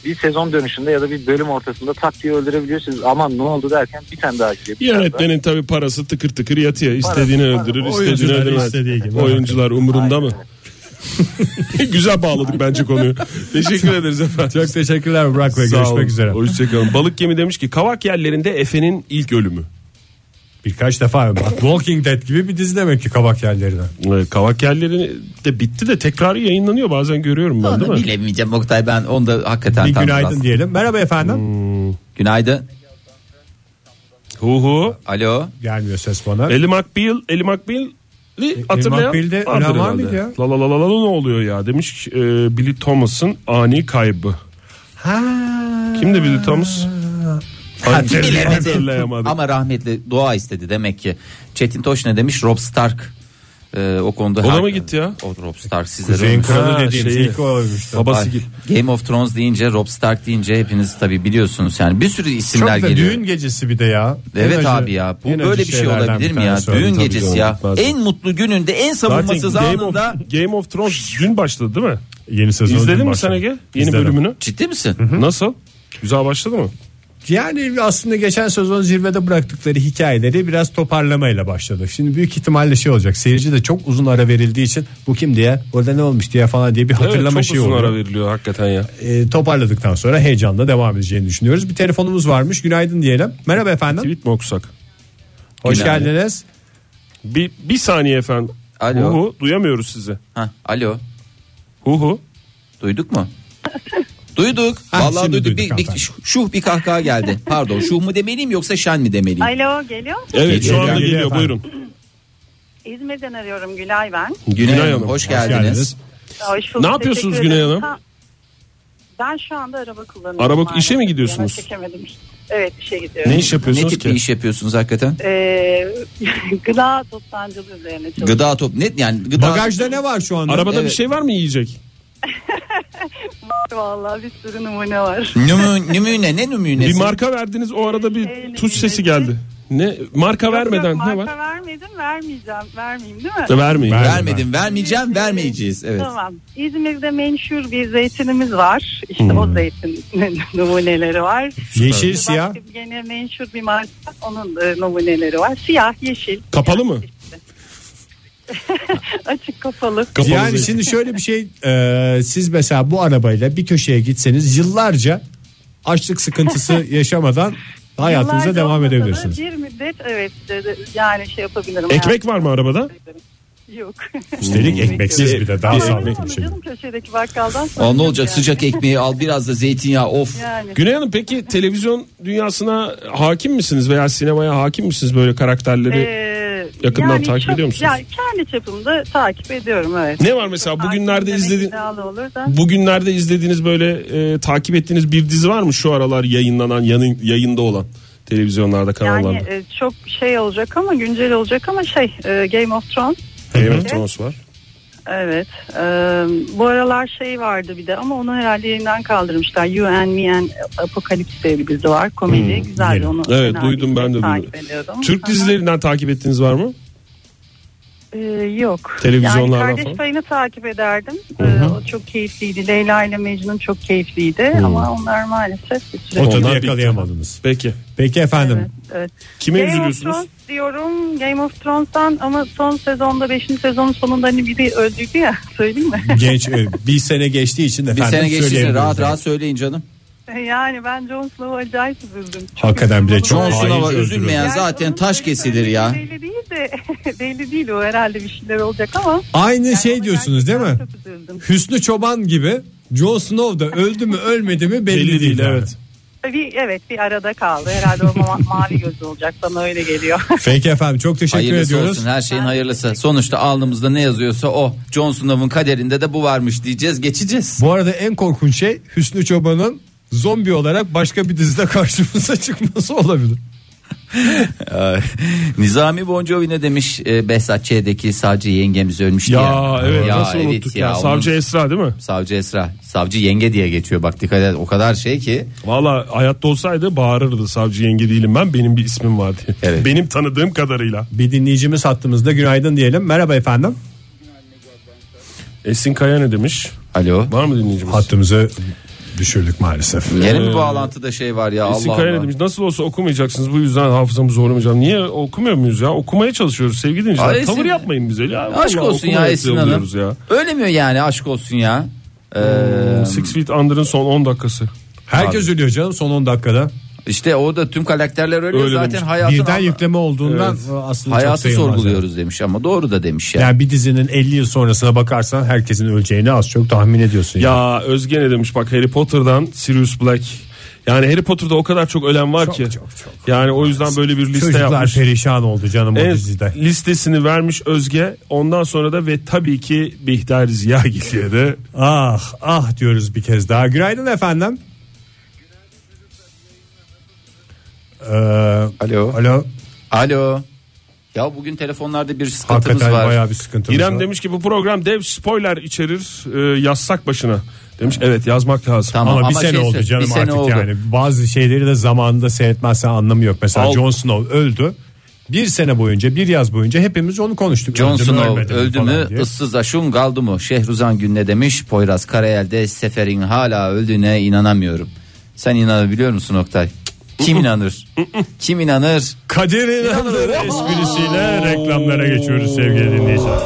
bir sezon dönüşünde ya da bir bölüm ortasında tak diye öldürebiliyorsunuz. Aman ne oldu derken bir tane daha geliyor. Bir tane daha.
Yönetmenin tabii parası tıkır tıkır yatıyor. İstediğini
Parası-
öldürür,
Oyuncular
istediğini
istediği gibi.
öldürmez. Oyuncular umurunda mı? (laughs) Güzel bağladık bence konuyu. Teşekkür ederiz efendim.
Çok teşekkürler Burak Bey.
Sağ
Görüşmek
olun.
üzere.
Hoşçakalın. Balık gemi demiş ki kavak yerlerinde Efe'nin ilk ölümü.
Birkaç defa bak, Walking Dead gibi bir dizi demek ki kabak yerlerine.
Ee, Kavak yerleri de bitti de tekrar yayınlanıyor bazen görüyorum ben değil
Onu
mi?
bilemeyeceğim Oktay ben onu da hakikaten
Bir
tam
günaydın
biraz- Hmm.
diyelim. Merhaba efendim.
Günaydın.
Hu hu.
Alo.
Gelmiyor ses bana.
Eli McBeal, Eli McBeal'i hatırlayan
McBeal'de ölen
vardır
var mıydı
herhalde.
ya?
La la la la la ne oluyor ya demiş e, Billy Thomas'ın ani kaybı.
ha.
Kimdi Billy Thomas?
Bilemedim.
Hatırlayamadım.
Ama rahmetli dua istedi demek ki. Çetin Toş ne demiş? Rob Stark. Ee, o konuda
O da
her-
mı gitti ya?
O Rob Stark sizlere
Zeyn
olmuş.
Ha,
Kralı dediğimiz
şeyi.
ilk o olmuştu.
Babası
Ay,
gibi.
Game of Thrones deyince Rob Stark deyince hepiniz tabi biliyorsunuz yani bir sürü
Çok
isimler
da
geliyor.
düğün gecesi bir de ya.
Evet
En acı-
abi ya bu
en acı
böyle bir şey
şeylerden
olabilir
bir
mi ya?
tanesi oldu.
Düğün
Tabii
gecesi
canım.
ya.
bazen.
En mutlu gününde en
Zaten
savunmasız
Game of,
anında
Game of Thrones dün başladı değil mi?
Yeni sezon
İzledin
dün
mi sen
başladı.
Ege? Yeni
İzledim.
bölümünü.
ciddi misin?
Nasıl? Güzel başladı mı?
Yani aslında geçen sezon zirvede bıraktıkları hikayeleri biraz toparlamayla başladı. Şimdi büyük ihtimalle şey olacak. Seyirci de çok uzun ara verildiği için bu kim diye, orada ne olmuş diye falan diye bir
Evet, çok
hatırlama şeyi
uzun
oluyor.
ara veriliyor hakikaten ya.
Ee, toparladıktan sonra heyecanla devam edeceğini düşünüyoruz. Bir telefonumuz varmış. Günaydın diyelim. Merhaba efendim.
Tweet mi okusak?
Hoş
Günaydın.
geldiniz.
Bir, bir saniye efendim.
Alo.
Hu hu duyamıyoruz sizi.
Ha, alo
Hu hu.
duyduk mu? Duyduk.
Ha,
Vallahi
şimdi
duyduk.
duyduk
bir, bir,
hanımefendi.
şu- şuh bir kahkaha geldi. Pardon şuh mu demeliyim yoksa şen mi demeliyim?
Alo geliyor musun?
Evet
Geliyor,
şu anda
geliyor
geliyor,
efendim.
buyurun.
İzmir'den arıyorum Gülay ben.
Güney
Günay
Hanım
Hanım,
hoş
hoş
geldiniz.
geldiniz.
Hoş bulduk,
Ne yapıyorsunuz
teşekkür
Güney
ederim.
Hanım?
Ben şu anda araba kullanıyorum.
Araba-
maalesef.
işe mi gidiyorsunuz?
Yana çekemedim. Evet işe gidiyorum.
Ne iş
Ne
yapıyorsunuz
tip
ki?
bir iş yapıyorsunuz hakikaten?
Ee, (laughs) gıda toptancılığı üzerine çalışıyorum.
Gıda top net yani gıda
Bagajda ne var şu anda?
Arabada
Evet.
bir şey var mı yiyecek?
Vallahi bir sürü numune var.
Nümü, nümüne ne nümünesi?
Bir marka verdiniz o arada bir
Ee,
tuş
ne-
sesi
ne-
geldi. Ne marka
Yok,
vermeden
yok,
ne
marka
var?
vermedim vermeyeceğim. Vermeyeyim değil mi?
Da vermeyin.
Vermedim, vermeyeceğim, vermeyeceğiz. Evet.
Tamam. İzmir'de menşur bir zeytinimiz var. İşte
Hmm.
o zeytin (laughs) numuneleri var.
Yeşil,
Başka
siyah.
bir Gene menşur bir marka. Onun e, numuneleri var. Siyah, yeşil. (laughs)
Kapalı mı?
Açık kapalı.
Kapalı
yani
zeytin.
şimdi şöyle bir şey e, siz mesela bu arabayla bir köşeye gitseniz yıllarca açlık
(laughs)
sıkıntısı yaşamadan hayatınıza
Yıllarca
devam
olmasa da
edebilirsiniz.
Bir müddet evet de- de- yani şey yapabilirim.
Ekmek var mı arabada?
Hayatım. Yok.
Üstelik ekmeksiz bir de daha
Bir
(laughs) Ekmek
sağlıklı
olur
bir şey.
canım köşedeki bakkaldan.
Aa,
sonra
ne olacak
yani.
sıcak ekmeği al biraz da zeytinyağı of.
Yani.
Güney Hanım peki televizyon dünyasına hakim misiniz veya sinemaya hakim misiniz böyle karakterleri?
Ee,
yakından takip ediyor musunuz?
Yani kendi çapımda takip ediyorum evet.
Ne var mesela bugünlerde
Takip
izlediğin-
demek iddialı olur da.
Bugünlerde izlediğiniz böyle e, takip ettiğiniz bir dizi var mı şu aralar yayınlanan yanın, yayında olan televizyonlarda kanallarda?
Yani e, çok şey olacak ama güncel olacak ama şey e, Game of Thrones
evet Jones var.
evet. E, bu aralar şey vardı bir de ama onu herhalde yayından kaldırmışlar. You and Me and Apocalypse diye bir dizi var. Komedi güzeldi onu.
Hmm, Evet,
fena
duydum, ben de
takip
duydum.
ediyordum.
Türk
Ama,
dizilerinden takip ettiğiniz var mı?
e, yok.
Televizyonlardan
yani kardeş
falan?
payını takip ederdim. E, o çok keyifliydi. Leyla ile Mecnun çok keyifliydi
Hmm.
ama onlar maalesef bir süre.
O tadı
Onlar bitti.
yakalayamadınız.
Peki.
Peki efendim.
Evet, evet.
Kime
Game of
üzülüyorsunuz?
Thrones diyorum Game of Thrones'tan ama son sezonda 5. sezonun sonunda hani biri öldüydü ya (laughs) söyleyeyim mi?
Genç e, bir sene geçtiği için
Bir
efendim
sene geçti
söyleyebiliriz.
rahat rahat söyleyin canım.
(laughs) yani ben Jon Snow'a acayip üzüldüm. Çok
Hakikaten bile
üzüldüm
çok
ona.
Johnson
haince
ama
öldürüldü.
üzülmeyen zaten
onun
taş
böyle
kesilir ya.
söylediği şey Belli değil de (laughs) belli değil o herhalde bir şeyler olacak ama.
Aynı
Yani
şey
ona
diyorsunuz değil mi?
gerçekten çok üzüldüm.
Hüsnü Çoban gibi Jon Snow da öldü mü ölmedi mi belli,
Belli değil,
değil. yani.
evet.
Bir, evet bir arada kaldı herhalde o ma- (laughs) mavi gözü olacak bana öyle geliyor. (laughs)
Peki efendim çok teşekkür
Hayırlısı
ediyoruz.
olsun her şeyin hayırlısı. Sonuçta alnımızda ne yazıyorsa o. John Snow'un kaderinde de bu varmış diyeceğiz geçeceğiz.
Bu arada en korkunç şey Hüsnü Çoban'ın zombi olarak başka bir dizide (laughs) karşımıza çıkması olabilir.
Ay, Nizami Bon Jovi ne demiş e, Behzat Ç'deki savcı yengemiz ölmüştü ya.
Ya, evet
Ya,
nasıl
evet
unuttuk ya.
ya,
Savcı
onun-
Esra değil mi?
Savcı Esra. Savcı yenge diye geçiyor bak dikkat et o kadar şey ki.
Valla hayatta olsaydı bağırırdı savcı yenge değilim ben benim bir ismim var diye.
Evet.
(laughs) Benim tanıdığım kadarıyla.
Bir dinleyicimiz hattımızda günaydın diyelim. Merhaba efendim.
Esin Kaya ne demiş?
Alo.
Var mı dinleyicimiz?
Hattımızı düşürdük maalesef.
Yine mi
Ee,
bağlantıda şey var ya
Esin
Allah
Kaya ne
Allah.
demiş? Nasıl olsa okumayacaksınız bu yüzden hafızamı zorlamayacağım. Niye okumuyor muyuz ya? Okumaya çalışıyoruz sevgili
Ay,
dinleyiciler.
Esin-
Tavır yapmayın bize. Ya.
Aşk
Vallahi
olsun ya
okumaya
Esin Hanım.
yolluyoruz ya.
Ölemiyor yani aşk olsun ya. Ee,
Six Feet Under'ın son 10 dakikası.
Herkes ölüyor canım son 10 dakikada.
işte o da tüm karakterler ölüyor
Öyle
zaten
demiş.
hayatın
Birden
anla-
yükleme olduğundan aslında çok
hayatı
sayılmaz.
sorguluyoruz demiş ama doğru da demiş ya.
Yani. Yani bir dizinin 50 yıl sonrasına bakarsan herkesin öleceğini az çok tahmin ediyorsun. yani.
Ya Özge ne demiş bak Harry Potter'dan Sirius Black. Yani Harry Potter'da o kadar çok ölen var ki. Yani o yüzden böyle bir liste
Çocuklar
yapmış.
perişan oldu canım o
En
dizide.
listesini vermiş Özge. Ondan sonra da ve tabii ki Bihter Ziyagil'e de
Ah ah diyoruz bir kez daha. Günaydın efendim. Ee,
Alo.
alo.
Alo. Ya bugün telefonlarda bir sıkıntımız
Hakikaten
var.
bayağı bir sıkıntımız
İrem
var.
demiş ki bu program dev spoiler içerir e, yazsak başına. Demiş evet yazmak lazım.
Tamam.
ama, bir
ama
sene
şey
oldu
söyle-
canım
bir sene
artık
oldu.
yani. Bazı şeyleri de zamanında seyretmezsen anlamı yok. Mesela
Al-
Jon Snow öldü. Bir sene boyunca bir yaz boyunca hepimiz onu konuştuk.
Jon
Öldü mü,
Snow
ölmedi mi
öldü
falan
mü
diye.
ıssız aşun kaldı mı Şehruzan Gün ne demiş Poyraz Karayel'de Sefer'in hala öldüğüne inanamıyorum Sen inanabiliyor musun Oktay Kim inanır Kim inanır
Kadir İnanır esprisiyle reklamlara geçiyoruz sevgili dinleyiciler.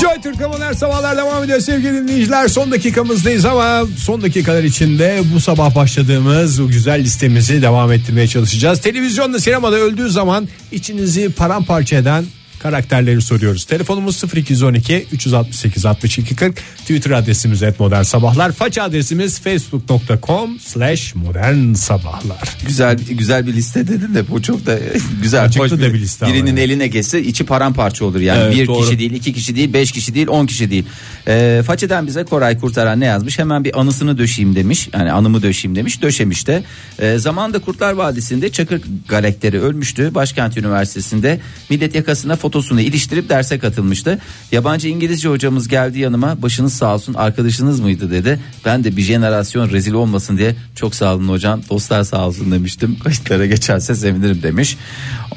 Joy Türk'te modern sabahlar devam ediyor sevgili dinleyiciler. Son dakikamızdayız ama son dakikalar içinde bu sabah başladığımız o güzel listemizi devam ettirmeye çalışacağız. Televizyonda sinemada öldüğü zaman içinizi paramparça eden karakterleri soruyoruz. Telefonumuz 0212 368 62 40. Twitter adresimiz et modern sabahlar. Faça adresimiz facebook.com slash modern sabahlar.
Güzel güzel bir liste dedin de bu çok da güzel.
Acıklı
hoş
da bir liste ama
Birinin
yani.
eline geçse içi paramparça olur yani.
Evet,
bir
doğru.
kişi değil, iki kişi değil, beş kişi değil, on kişi değil. Ee, façeden bize Koray Kurtaran ne yazmış? Hemen bir anısını döşeyim demiş. Yani anımı döşeyim demiş. Döşemiş de. Ee, zamanında Kurtlar Vadisi'nde Çakır Galekleri ölmüştü. Başkent Üniversitesi'nde millet yakasına fotosunu iliştirip derse katılmıştı. Yabancı İngilizce hocamız geldi yanıma. Başınız sağ olsun arkadaşınız mıydı dedi. Ben de bir jenerasyon rezil olmasın diye çok sağ olun hocam. Dostlar sağ olsun demiştim. (laughs) Kayıtlara geçerse sevinirim demiş.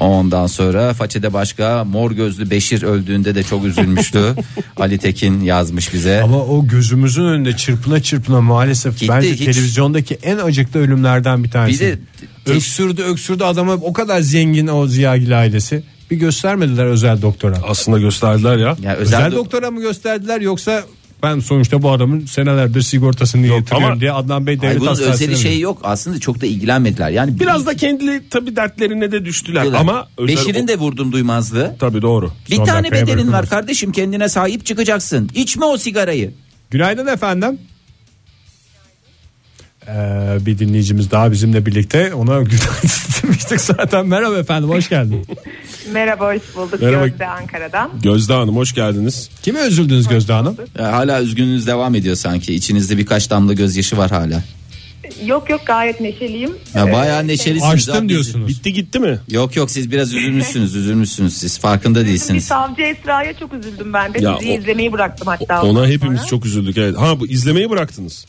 Ondan sonra façede başka mor gözlü Beşir öldüğünde de çok üzülmüştü. Ali Tekin yazmış bize.
Ama o gözümüzün önünde çırpına çırpına maalesef
Gitti,
bence
hiç-
televizyondaki en acıklı ölümlerden bir tanesi.
Bir de-
öksürdü öksürdü adama o kadar zengin o Ziyagil ailesi. Bir göstermediler özel doktora.
Aslında gösterdiler ya.
Yani özel,
Özel,
do-
doktora mı gösterdiler yoksa ben sonuçta bu adamın senelerdir sigortasını yatırıyorum
ama-
diye Adnan Bey
Ay,
devlet
bunun
hastanesine
özeli
mi-
şey yok. Aslında çok da ilgilenmediler. Yani
Biraz da kendi tabi dertlerine de düştüler
Diyorlar.
ama özel
Beşir'in de vurdum duymazlığı.
tabi doğru.
Bir
Son
tane
dakikaya
bedelin var
bırakılmış.
kardeşim kendine sahip çıkacaksın. İçme o sigarayı.
Günaydın efendim. Ee, bir dinleyicimiz daha bizimle birlikte ona (laughs) günaydın demiştik zaten. Merhaba efendim hoş geldin.
Merhaba hoş bulduk
Merhaba.
Gözde Ankara'dan.
Gözde Hanım hoş geldiniz.
Kime üzüldünüz Gözde Hanım?
E, hala üzgününüz devam ediyor sanki. İçinizde birkaç damla gözyaşı var hala.
Yok yok gayet neşeliyim.
Ee,
Ya bayağı neşelisiniz.
Açtım
abi.
diyorsunuz.
Bitti gitti mi?
Yok yok siz biraz üzülmüşsünüz üzülmüşsünüz siz farkında
Bir
değilsiniz.
savcı Esra'ya çok üzüldüm ben de.
Ya
Sizi
o-
izlemeyi bıraktım hatta.
Ona
ondan
hepimiz
sonra.
çok üzüldük. Evet. Ha bu izlemeyi bıraktınız.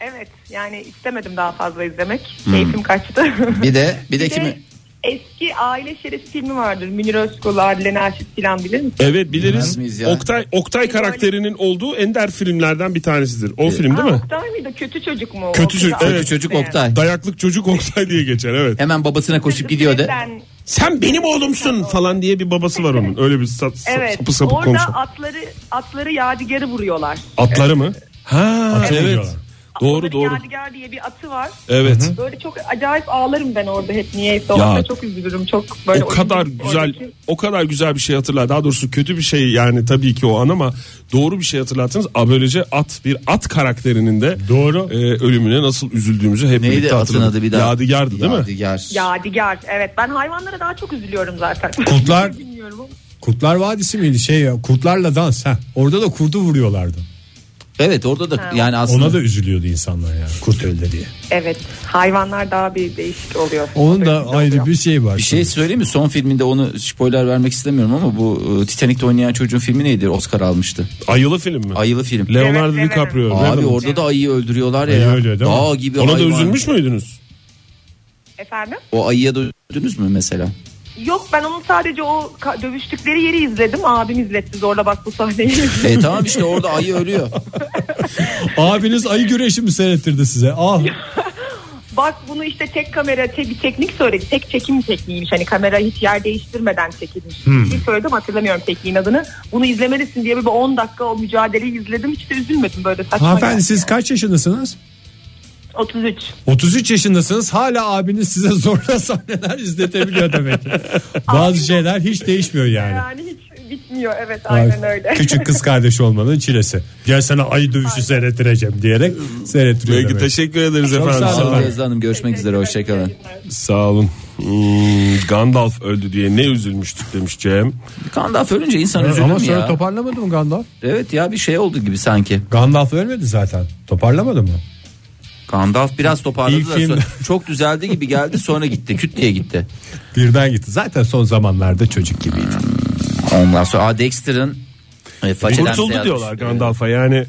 Evet yani istemedim daha fazla izlemek.
Hmm.
Keyfim kaçtı.
(laughs)
Bir de bir de
Bir de
kimi
Şey, Eski aile şerefi filmi vardır. Münir Özkul, Adile Naşit filan bilir misin?
Evet
Bilmez
biliriz.
miyiz ya?
Oktay Oktay karakterinin olduğu ender filmlerden bir tanesidir.
Ee,
O film değil
Aa,
mi?
Oktay mıydı? Kötü çocuk mu?
Kötü
O kızı
çocuk,
aile
evet.
çocuk
şerefi.
Oktay.
Dayaklık çocuk Oktay diye geçer evet.
Hemen babasına koşup gidiyordu.
Ben-
Sen benim oğlumsun falan diye bir babası var onun. Öyle bir sap, sap-
Evet.
sapı sapı
Orada
konuşan.
atları atları yadigarı vuruyorlar.
Atları mı? Ha evet.
vuruyorlar.
Doğru
Atları
doğru.
Yadigar diye bir atı var.
Evet.
Böyle çok acayip ağlarım ben orada hep niyeyse.
Ya.
Orada çok üzülürüm. Çok böyle
o kadar
oyuncu-
güzel
Hani oradaki-
o kadar güzel bir şey hatırlar. Daha doğrusu kötü bir şey yani tabii ki o an ama doğru bir şey hatırlattınız. A böylece at bir at karakterinin de
Doğru.
e, ölümüne nasıl üzüldüğümüzü hep
Neydi
birlikte
atın
hatırladık.
adı bir daha?
Yadigar'dı değil mi?
Yadigar.
Yadigar. Evet ben hayvanlara daha çok üzülüyorum
(laughs)
zaten.
Kurtlar-
Bilmiyorum ama.
Kurtlar Vadisi miydi şey ya kurtlarla dans ha. Orada da kurdu vuruyorlardı.
Evet orada da yani aslında
Ona da üzülüyordu insanlar yani kurt öldü diye.
Evet hayvanlar daha bir değişik oluyor.
Onun da
Değişik
ayrı
oluyor.
bir şey var.
bir şey söyleyeyim mi? Son filminde onu spoiler vermek istemiyorum ama bu e, Titanic'te oynayan çocuğun filmi neydi? Oscar almıştı.
Ayılı film mi?
Ayılı film.
Leonardo
Evet,
DiCaprio.
Abi
Revenant.
orada da ayıyı öldürüyorlar ya.
Ayı ölüyor değil mi?
Dağ gibi
Ona da
hayvan.
üzülmüş müydünüz?
Efendim?
O ayıya da üzüldünüz mü mesela?
Yok ben onun sadece o ka- dövüştükleri yeri izledim. Abim izletti zorla bak
(laughs)
bu sahneyi.
E tamam işte orada ayı ölüyor.
Abiniz ayı güreşi mi seyrettirdi size? Ah
bak bunu işte tek kamera te- bir teknik söyledi. Tek çekim tekniğiymiş. Hani kamera hiç yer değiştirmeden çekilmiş.
Hmm.
Bir şey söyledim hatırlamıyorum tekniğin adını. Bunu izlemelisin diye bir 10 dakika o mücadeleyi izledim. Hiç de üzülmedim böyle saçma.
hanımefendi
geldi.
siz kaç yaşındasınız?
33.
33 yaşındasınız hala abiniz size zorla (laughs) sahneler izletebiliyor demek ki. Bazı şeyler hiç değişmiyor yani.
Yani hiç bitmiyor evet aynen
Ay,
öyle.
Küçük kız kardeşi olmanın çilesi. Gel sana ayı dövüşü seyrettireceğim diyerek seyrettiriyor
Peki
demek.
teşekkür ederiz efendim.
sağ
Sağ
olun.
olun.
Sağ Gözde Hanım görüşmek üzere hoşçakalın.
Sağ olun. Hmm, Gandalf öldü diye ne üzülmüştük demiş Cem.
Gandalf ölünce insan üzülür
Ama
mü
sonra
ya?
toparlamadı mı Gandalf?
Evet ya bir şey oldu gibi sanki.
Gandalf ölmedi zaten. Toparlamadı mı?
Gandalf biraz toparladı
İlk
da
film-
sonra- çok düzeldi gibi geldi sonra gitti küt diye gitti.
Birden gitti. Zaten son zamanlarda çocuk gibiydi.
Ondan sonra Aa, Dexter'ın e, façeden bize
Kurtuldu
yazmış.
diyorlar Gandalf'a yani.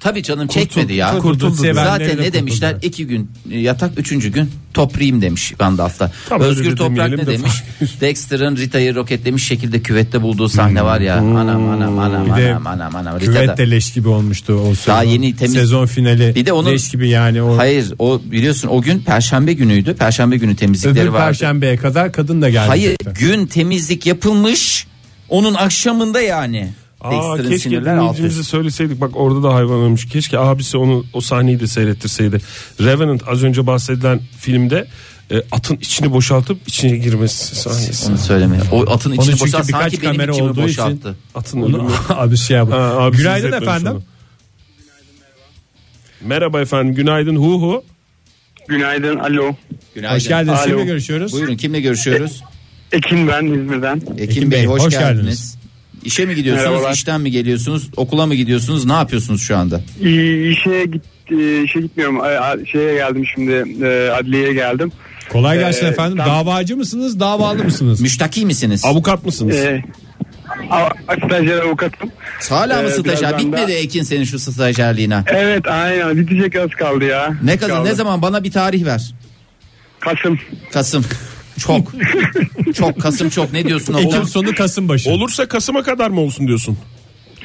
Tabii canım çekmedi ya.
kurtuldu. Kurtuldu.
Zaten ne
Sevenleri de
demişler?
kurtuldu.
İki gün e, yatak, üçüncü gün toprayım demiş Gandalf'ta.
Tam öyle
Özgür
de
Toprak
demeyelim
ne
de
(laughs)
demiş? Dexter'ın Rita'yı roketlemiş şekilde küvette bulduğu sahne var ya. Anam anam anam
Hmm. Bir de
anam anam anam.
Küvet
Rita'da.
de leş gibi olmuştu o sezon.
Daha yeni temiz-
Sezon finali
Bir de onun-
leş gibi yani o
Hayır o biliyorsun o gün perşembe günüydü. Perşembe günü temizlikleri
öbür
vardı.
perşembeye kadar kadın da geldi.
Hayır
zaten.
gün temizlik yapılmış. Onun akşamında yani.
Aa,
Dexter'ın
keşke
sinirler alt
dinleyicimize
üst.
söyleseydik bak orada da hayvan ölmüş. Keşke abisi onu o sahneyi de seyrettirseydi. Revenant az önce bahsedilen filmde e, atın içini boşaltıp içine girmesi sahnesi.
Onu söyleme. O atın
Onun
içini
çünkü
boşalt
birkaç
sanki benim
kamera
içimi
olduğu için-
boşalttı.
Atın ölümü.
(laughs) abi şey yap.
Ha, abi siz
Günaydın
etmemiş
efendim.
onu. Merhaba efendim. Günaydın. Hu hu.
Günaydın, alo.
Günaydın.
Hoş geldiniz. Kimle
Alo.
görüşüyoruz?
Buyurun kimle görüşüyoruz?
Ekin ben İzmir'den.
Ekim, Bey, hoş, geldiniz. İşe mi gidiyorsunuz,
Merhabalar.
işten mi geliyorsunuz, okula mı gidiyorsunuz, ne yapıyorsunuz şu anda?
İ- İşe git e, işe gitmiyorum. A- a- Şeye geldim şimdi. e, Adliyeye geldim.
Kolay gelsin
Ee,
efendim.
tam-
Davacı mısınız, davalı mısınız?
Müştaki misiniz?
Avukat mısınız?
Ee,
E, a- stajyer avukatım.
Hala mı
Ee,
stajyer?
birazdan
Bitmedi
da-
Ekin senin şu stajyerliğine.
Evet, aynen. Bitecek az kaldı ya.
Ne kadar,
Kaldı.
ne zaman bana bir tarih ver.
Kasım.
Kasım. Çok. çok Kasım çok. Ne diyorsun?
Ekim
Olur.
sonu Kasım başı.
Olursa Kasım'a kadar mı olsun diyorsun?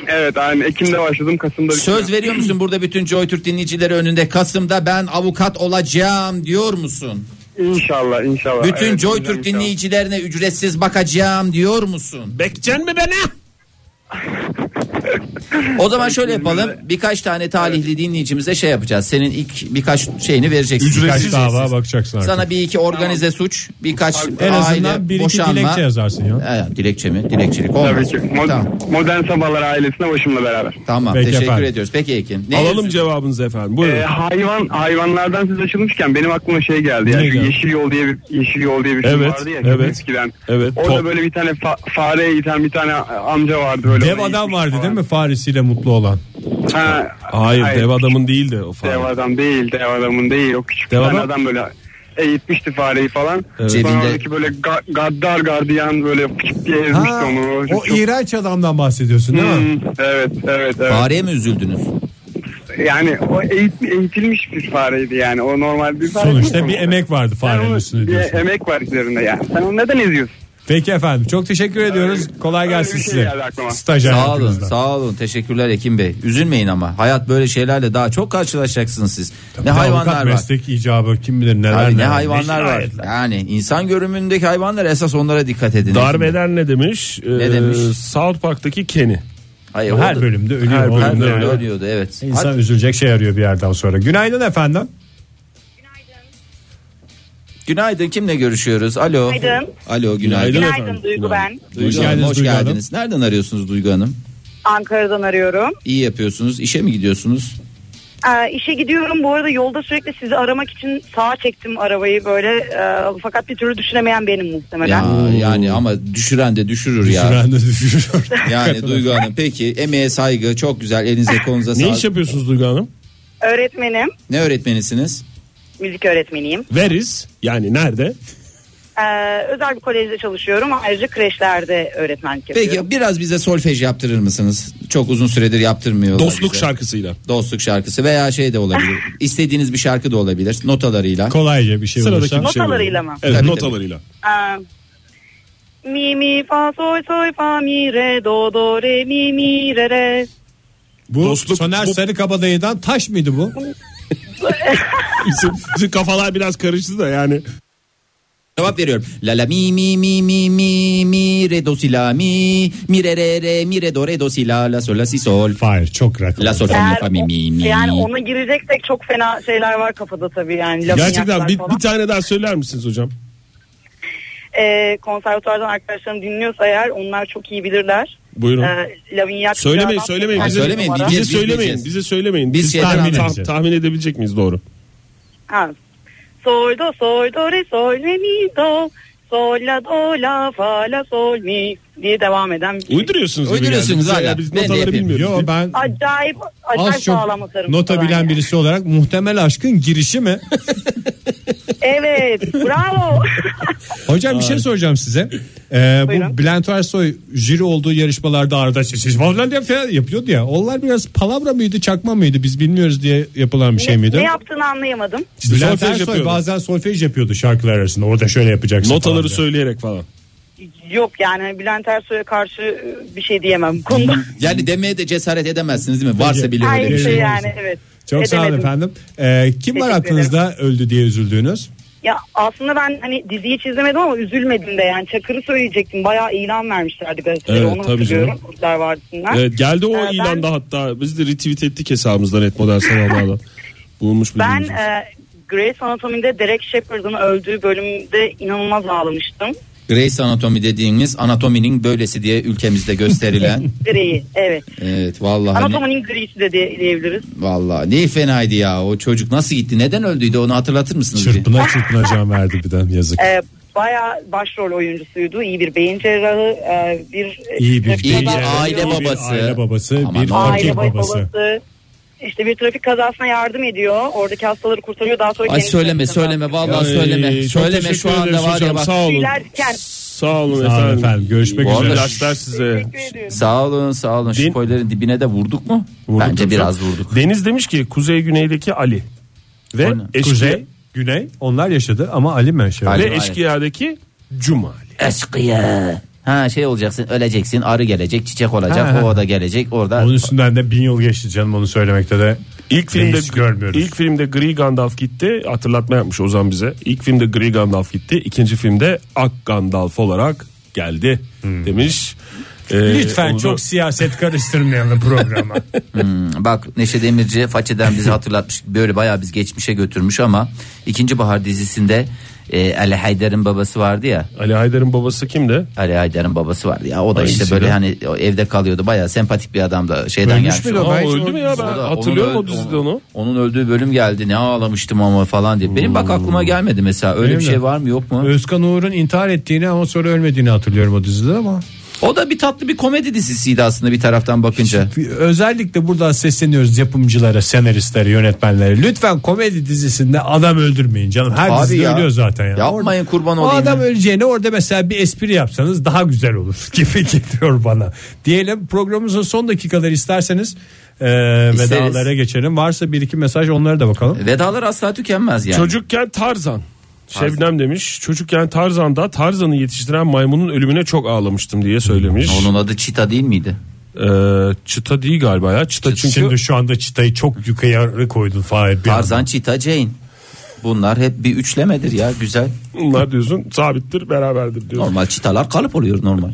Evet, aynen. Ekim'de başladım, Kasım'da bitiyor.
Söz veriyor musun burada bütün Joy Türk dinleyicileri önünde Kasım'da ben avukat olacağım diyor musun?
İnşallah, inşallah.
Bütün
Evet,
Joy
güzel
Türk
inşallah.
dinleyicilerine ücretsiz bakacağım diyor musun?
Bekecen mi beni?
O zaman şöyle yapalım. Birkaç tane talihli dinleyicimize şey yapacağız. Senin ilk birkaç şeyini vereceksin.
Kaç
Birkaç
dava bakacaksın artık.
Sana bir iki organize suç, birkaç
en azından
aile
bir iki
boşanma.
dilekçe yazarsın ya.
He, dilekçe mi? Dilekçilik olmaz.
Tabii ki. Mod-
Tamam,
Modern Sabahlar ailesine başımla beraber.
tamam.
Peki
teşekkür
efendim.
ediyoruz. Peki Ekin. Ne
Alalım cevabınızı efendim. Buyurun.
E, hayvan hayvanlardan siz açılmışken benim aklıma şey geldi. Yani
Ne
şu
geldi?
yeşil yol diye bir yeşil yol diye bir şey
Evet,
vardı ya
evet.
eskiden.
Evet.
Orada
Top-
böyle bir tane fa- fareye iten bir tane amca vardı
Ee,
böyle.
Dev
Ona
adam
gitmiş
vardı
falan.
değil mi faresiyle mutlu olan?
Ha,
Hayır, dev adamın değil de o fare.
Dev adam değil, dev adamın değil. O küçük
Dev
bir tane
adam?
adam böyle eğitmişti fareyi falan.
Cebinde-
Sonra oradaki böyle ga- gaddar gardiyan böyle pıçık diye ezmişti
Ha,
onu.
o
Çok-
iğrenç adamdan bahsediyorsun değil mi?
Hmm, evet, evet, evet.
Fareye mi üzüldünüz?
Yani o eğit- eğitilmiş bir fareydi yani. O normal bir fare.
Sonuçta
değil
bir
mi?
emek vardı
Sen
farenin
onu-
üstünde
bir
diyorsun.
emek var üzerinde yani. Sen onu neden eziyorsun?
Peki efendim çok teşekkür ediyoruz. Kolay
öyle
gelsin
bir şey
size.
geldi aklıma.
Stajyer
Sağ olun,
hayatınızda.
sağ olun. Teşekkürler Ekim Bey. Üzülmeyin ama. Hayat böyle şeylerle daha çok karşılaşacaksınız siz. ne
Bir de
hayvanlar
avukat
var.
meslek icabı kim bilir neler
Abi ne
neler.
hayvanlar var.
cinayetler.
Yani insan görünümündeki hayvanlar esas onlara dikkat edin. Ekim Bey.
Darveder ne demiş? Ee,
demiş?
South Park'taki Kenny.
Hayır,
Her
orada-
bölümde ölüyor.
Her
O
bölümde
Her
yüzden
ölüyor.
bölümde
Yani.
ölüyordu evet.
İnsan
Hadi.
üzülecek şey arıyor bir yerden sonra. Günaydın efendim.
Günaydın kimle görüşüyoruz? Alo.
Günaydın.
Alo günaydın.
Günaydın.
Günaydın Duygu ben.
Duygu
Hoş
Hanım,
geldiniz
hoş
Duygu Hanım.
geldiniz. Nereden arıyorsunuz Duygu Hanım?
Ankara'dan arıyorum.
İyi yapıyorsunuz. İşe mi gidiyorsunuz?
Ee, işe gidiyorum. Bu arada yolda sürekli sizi aramak için sağa çektim arabayı böyle. Ee, fakat bir türlü düşünemeyen benim muhtemelen.
Ya, yani ama düşüren de düşürür ya.
Düşüren de
(laughs)
düşürüyor.
Yani Duygu Hanım peki emeğe saygı çok güzel elinize kolunuza
Ne
sağlık.
iş yapıyorsunuz Duygu Hanım?
Öğretmenim.
Ne öğretmenisiniz?
Müzik öğretmeniyim.
Veriz. Yani nerede?
Ee, özel bir kolejde çalışıyorum. Ayrıca kreşlerde öğretmenlik yapıyorum.
Peki biraz bize solfej yaptırır mısınız? Çok uzun süredir yaptırmıyorlar.
Dostluk
bize.
şarkısıyla.
Dostluk şarkısı veya şey de
(laughs)
olabilir. İstediğiniz bir şarkı da olabilir notalarıyla.
Kolayca bir şey
Sıradaki
olursa.
bir şey
Notalarıyla
verelim.
mı?
Evet
Tabii,
notalarıyla.
Ee, mi mi fa sol sol fa mi re do do re mi mi re re.
Bu
Dostluk-
Soner
bu-
Sarıkabadayı'dan taş mıydı bu?
(laughs) Bizim, bizim kafalar biraz karıştı da yani.
Cevap veriyorum. La la mi mi mi mi mi mi re do si la mi mi re re re mi re do re do si la la sol la si sol
Hayır çok rakam.
la sol fa mi fa mi mi mi.
yani ona gireceksek çok fena şeyler var kafada tabii yani. lafın
Gerçekten
yaklar
bir,
falan.
bir tane daha söyler misiniz hocam?
e, konservatuvardan arkadaşlarım dinliyorsa eğer onlar çok iyi bilirler.
Buyurun.
E, Lavinia
söylemeyin
Kuşağı'dan-
söylemeyin.
Ha,
Bize,
söylemeyin,
Numara.
bize
biz
söylemeyin.
bileceğiz.
Bize söylemeyin.
Biz
Biz,
şeyden
tahmin,
anlayacağız.
tah- tahmin edebilecek miyiz doğru?
Ha. Sol do sol do re sol re mi do sol la do la fa la sol mi diye devam eden bir
Uyduruyorsunuz. gibi
Uyduruyorsunuz
geldi.
hala.
Ya Biz
Ben de
notaları
yapayım.
bilmiyoruz.
Yo ben
acayip acayip
az çok
sağlam atarım
nota
falan
bilen
yani.
birisi olarak muhtemel aşkın girişi mi? (laughs)
Evet bravo.
Hocam bir şey soracağım size. Ee, bu
Buyurun.
Bülent Ersoy jüri olduğu yarışmalarda arada siz falan diye falan yapıyordu ya. Onlar biraz palavra mıydı çakma mıydı biz bilmiyoruz diye yapılan bir şey
ne,
miydi?
ne yaptığını anlayamadım.
İşte
Bülent
solfej
Ersoy
yapıyordu.
bazen solfej yapıyordu şarkılar arasında. Orada şöyle yapacaksın. falan
Notaları
diye.
söyleyerek falan.
Yok yani Bülent Ersoy'a karşı e, bir şey diyemem bu konuda.
Yani demeye de cesaret edemezsiniz değil mi? Varsa bile öyle
Aynı
bir
şey
şey.
yani evet.
Çok sağ olun
Edemedim.
efendim. Ee, kim var
Teşekkür
aklınızda öldü diye üzüldüğünüz?
Ya aslında ben hani diziyi hiç izlemedim ama üzülmedim de yani Çakır'ı söyleyecektim. Bayağı ilan vermişlerdi gazetelere
Evet,
onu
tabii
hatırlıyorum.
canım.
Kurtlar Vadisi'nden.
Evet, geldi o
Ee, ben-
ilanda hatta biz de retweet ettik hesabımızdan et model sabahlardan. Bulunmuş bir
Ben
dinleyicimiz.
e, Grey's Anatomy'de Derek Shepard'ın öldüğü bölümde inanılmaz ağlamıştım.
Grace anatomi dediğimiz anatominin böylesi diye ülkemizde
(laughs)
gösterilen.
Grey'i evet.
evet vallahi ne,
Anatominin grisi de diye- diyebiliriz.
vallahi ne fenaydı ya o çocuk nasıl gitti neden öldüydü onu hatırlatır mısınız? bir?
Çırpına çırpına can verdi birden yazık.
Ee, bayağı başrol oyuncusuydu. İyi bir beyin cerrahı. e, bir
İyi bir
trafik
iyi bir
kazası-
aile
Bir
babası.
aile babası,
Aman
bir
Allah'ım.
fakir
Aile
babası.
babası. İşte bir trafik kazasına yardım ediyor. Oradaki hastaları kurtarıyor. Daha sonra
Ay
kendisi-
söyleme söyleme vallahi
Ay,
söyleme.
çok
Söyleme
teşekkür
şu anda
ederiz
var ya
hocam,
bak.
Sağ olun.
Şeyler- Yani
Sağ olun
Sağ olun
efendim.
efendim. Görüşmek
Bu arada-
üzere.
İlaçlar size.
teşekkür ediyorum.
Sağ olun sağ olun.
Din-
Spoiler'ın dibine de vurduk mu?
Vurduk
Bence
hocam.
biraz vurduk.
Deniz demiş ki kuzey güneydeki Ali ve
O ne?
eşki
Kuzey, Güney onlar yaşadı ama Ali mi yaşadı?
Ali.
ve eşkıyadaki Cumali.
Eskiye. Ha şey olacaksın öleceksin arı gelecek çiçek olacak
Ha, ha.
o da gelecek orada.
Onun üstünden de bin yıl geçti canım onu söylemekte de.
İlk filmde
Reis görmüyoruz.
ilk filmde Gri Gandalf gitti. Hatırlatma yapmış Ozan bize. İlk filmde Gri Gandalf gitti. ikinci filmde Ak Gandalf olarak geldi demiş. Ee,
Lütfen
onu da-
çok siyaset karıştırmayalım programa.
Bak Neşe Demirci façeden
(laughs)
bizi hatırlatmış. Böyle bayağı biz geçmişe götürmüş ama ikinci bahar dizisinde e, Ali Haydar'ın babası vardı ya.
Ali Haydar'ın babası kimdi?
Ali Haydar'ın babası vardı ya. O da
Hangisi
işte böyle
lan?
hani o evde kalıyordu. Bayağı sempatik bir adam da şeyden
Ölmüş
gelmiş.
müydü
O-
o?
Aa,
Ben hiç
öldü mü ya
o
ben
da-
hatırlıyorum
onun
o
öl-
dizide onu.
Onun öldüğü bölüm geldi. Ne ağlamıştım ama falan diye. Benim bak aklıma gelmedi mesela. Öyle
Benim
bir
de.
şey var mı yok mu?
(laughs) Özkan Uğur'un intihar ettiğini ama sonra ölmediğini hatırlıyorum o dizide ama.
O da bir tatlı bir komedi dizisiydi aslında bir taraftan bakınca.
Özellikle buradan sesleniyoruz yapımcılara, senaristlere, yönetmenlere. Lütfen komedi dizisinde adam öldürmeyin canım. Her
Abi
dizide
ya.
ölüyor zaten. Ya.
Yapmayın, kurban
o
olayım
adam
ya.
öleceğine orada mesela bir espri yapsanız daha güzel olur (laughs) gibi geliyor bana. Diyelim programımızın son dakikaları isterseniz e,
İsteriz.
vedalara geçelim. Varsa bir iki mesaj onlara da bakalım.
Vedalar asla tükenmez yani.
Çocukken Tarzan. Şebnem demiş. Çocukken Tarzan'da Tarzan'ı yetiştiren maymunun ölümüne çok ağlamıştım diye söylemiş.
Onun adı Çita değil miydi?
Ee, çıta değil galiba ya. Çıta çünkü
Şimdi şu anda çıtayı çok yukarı koydun Fahir. bir
Tarzan,
anda.
Çita, Jane. Bunlar hep bir üçlemedir ya güzel.
bunlar diyorsun sabittir beraberdir diyorsun.
Normal çitalar kalıp oluyor normal.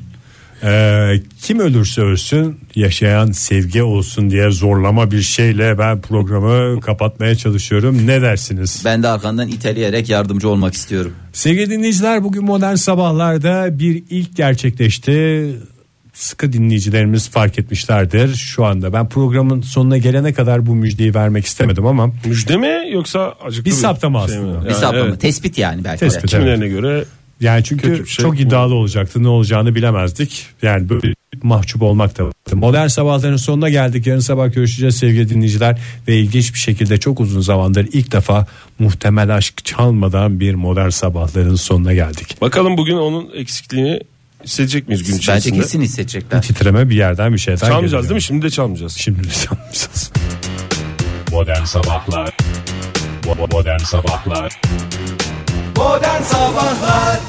Ee, kim ölürse ölsün yaşayan sevgi olsun diye zorlama bir şeyle ben programı kapatmaya çalışıyorum. Ne dersiniz?
Ben de arkandan iteleyerek yardımcı olmak istiyorum.
Sevgili dinleyiciler bugün modern sabahlarda bir ilk gerçekleşti. Sıkı dinleyicilerimiz fark etmişlerdir. Şu anda ben programın sonuna gelene kadar bu müjdeyi vermek istemedim ama
Müjde mi yoksa acıklı
Bir saptama aslında.
Bir
Yani
sapma
evet,
mı? Tespit yani belki de.
Tespit.
Kimilerine göre
yani çünkü
Kötü bir şey.
çok iddialı olacaktı. Ne olacağını bilemezdik. Yani böyle mahcup olmak da vardı. Modern sabahların sonuna geldik. Yarın sabah görüşeceğiz sevgili dinleyiciler. Ve ilginç bir şekilde çok uzun zamandır ilk defa muhtemel aşk çalmadan bir modern sabahların sonuna geldik.
Bakalım bugün onun eksikliğini hissedecek miyiz gün içerisinde?
Bence kesin hissedecekler.
Titreme bir yerden bir şeyden geliyor.
Çalmayacağız değil mi? Şimdi de çalmayacağız.
Şimdi çalmayacağız.
Modern Sabahlar Bo- bo- Modern Sabahlar
Modern Sabahlar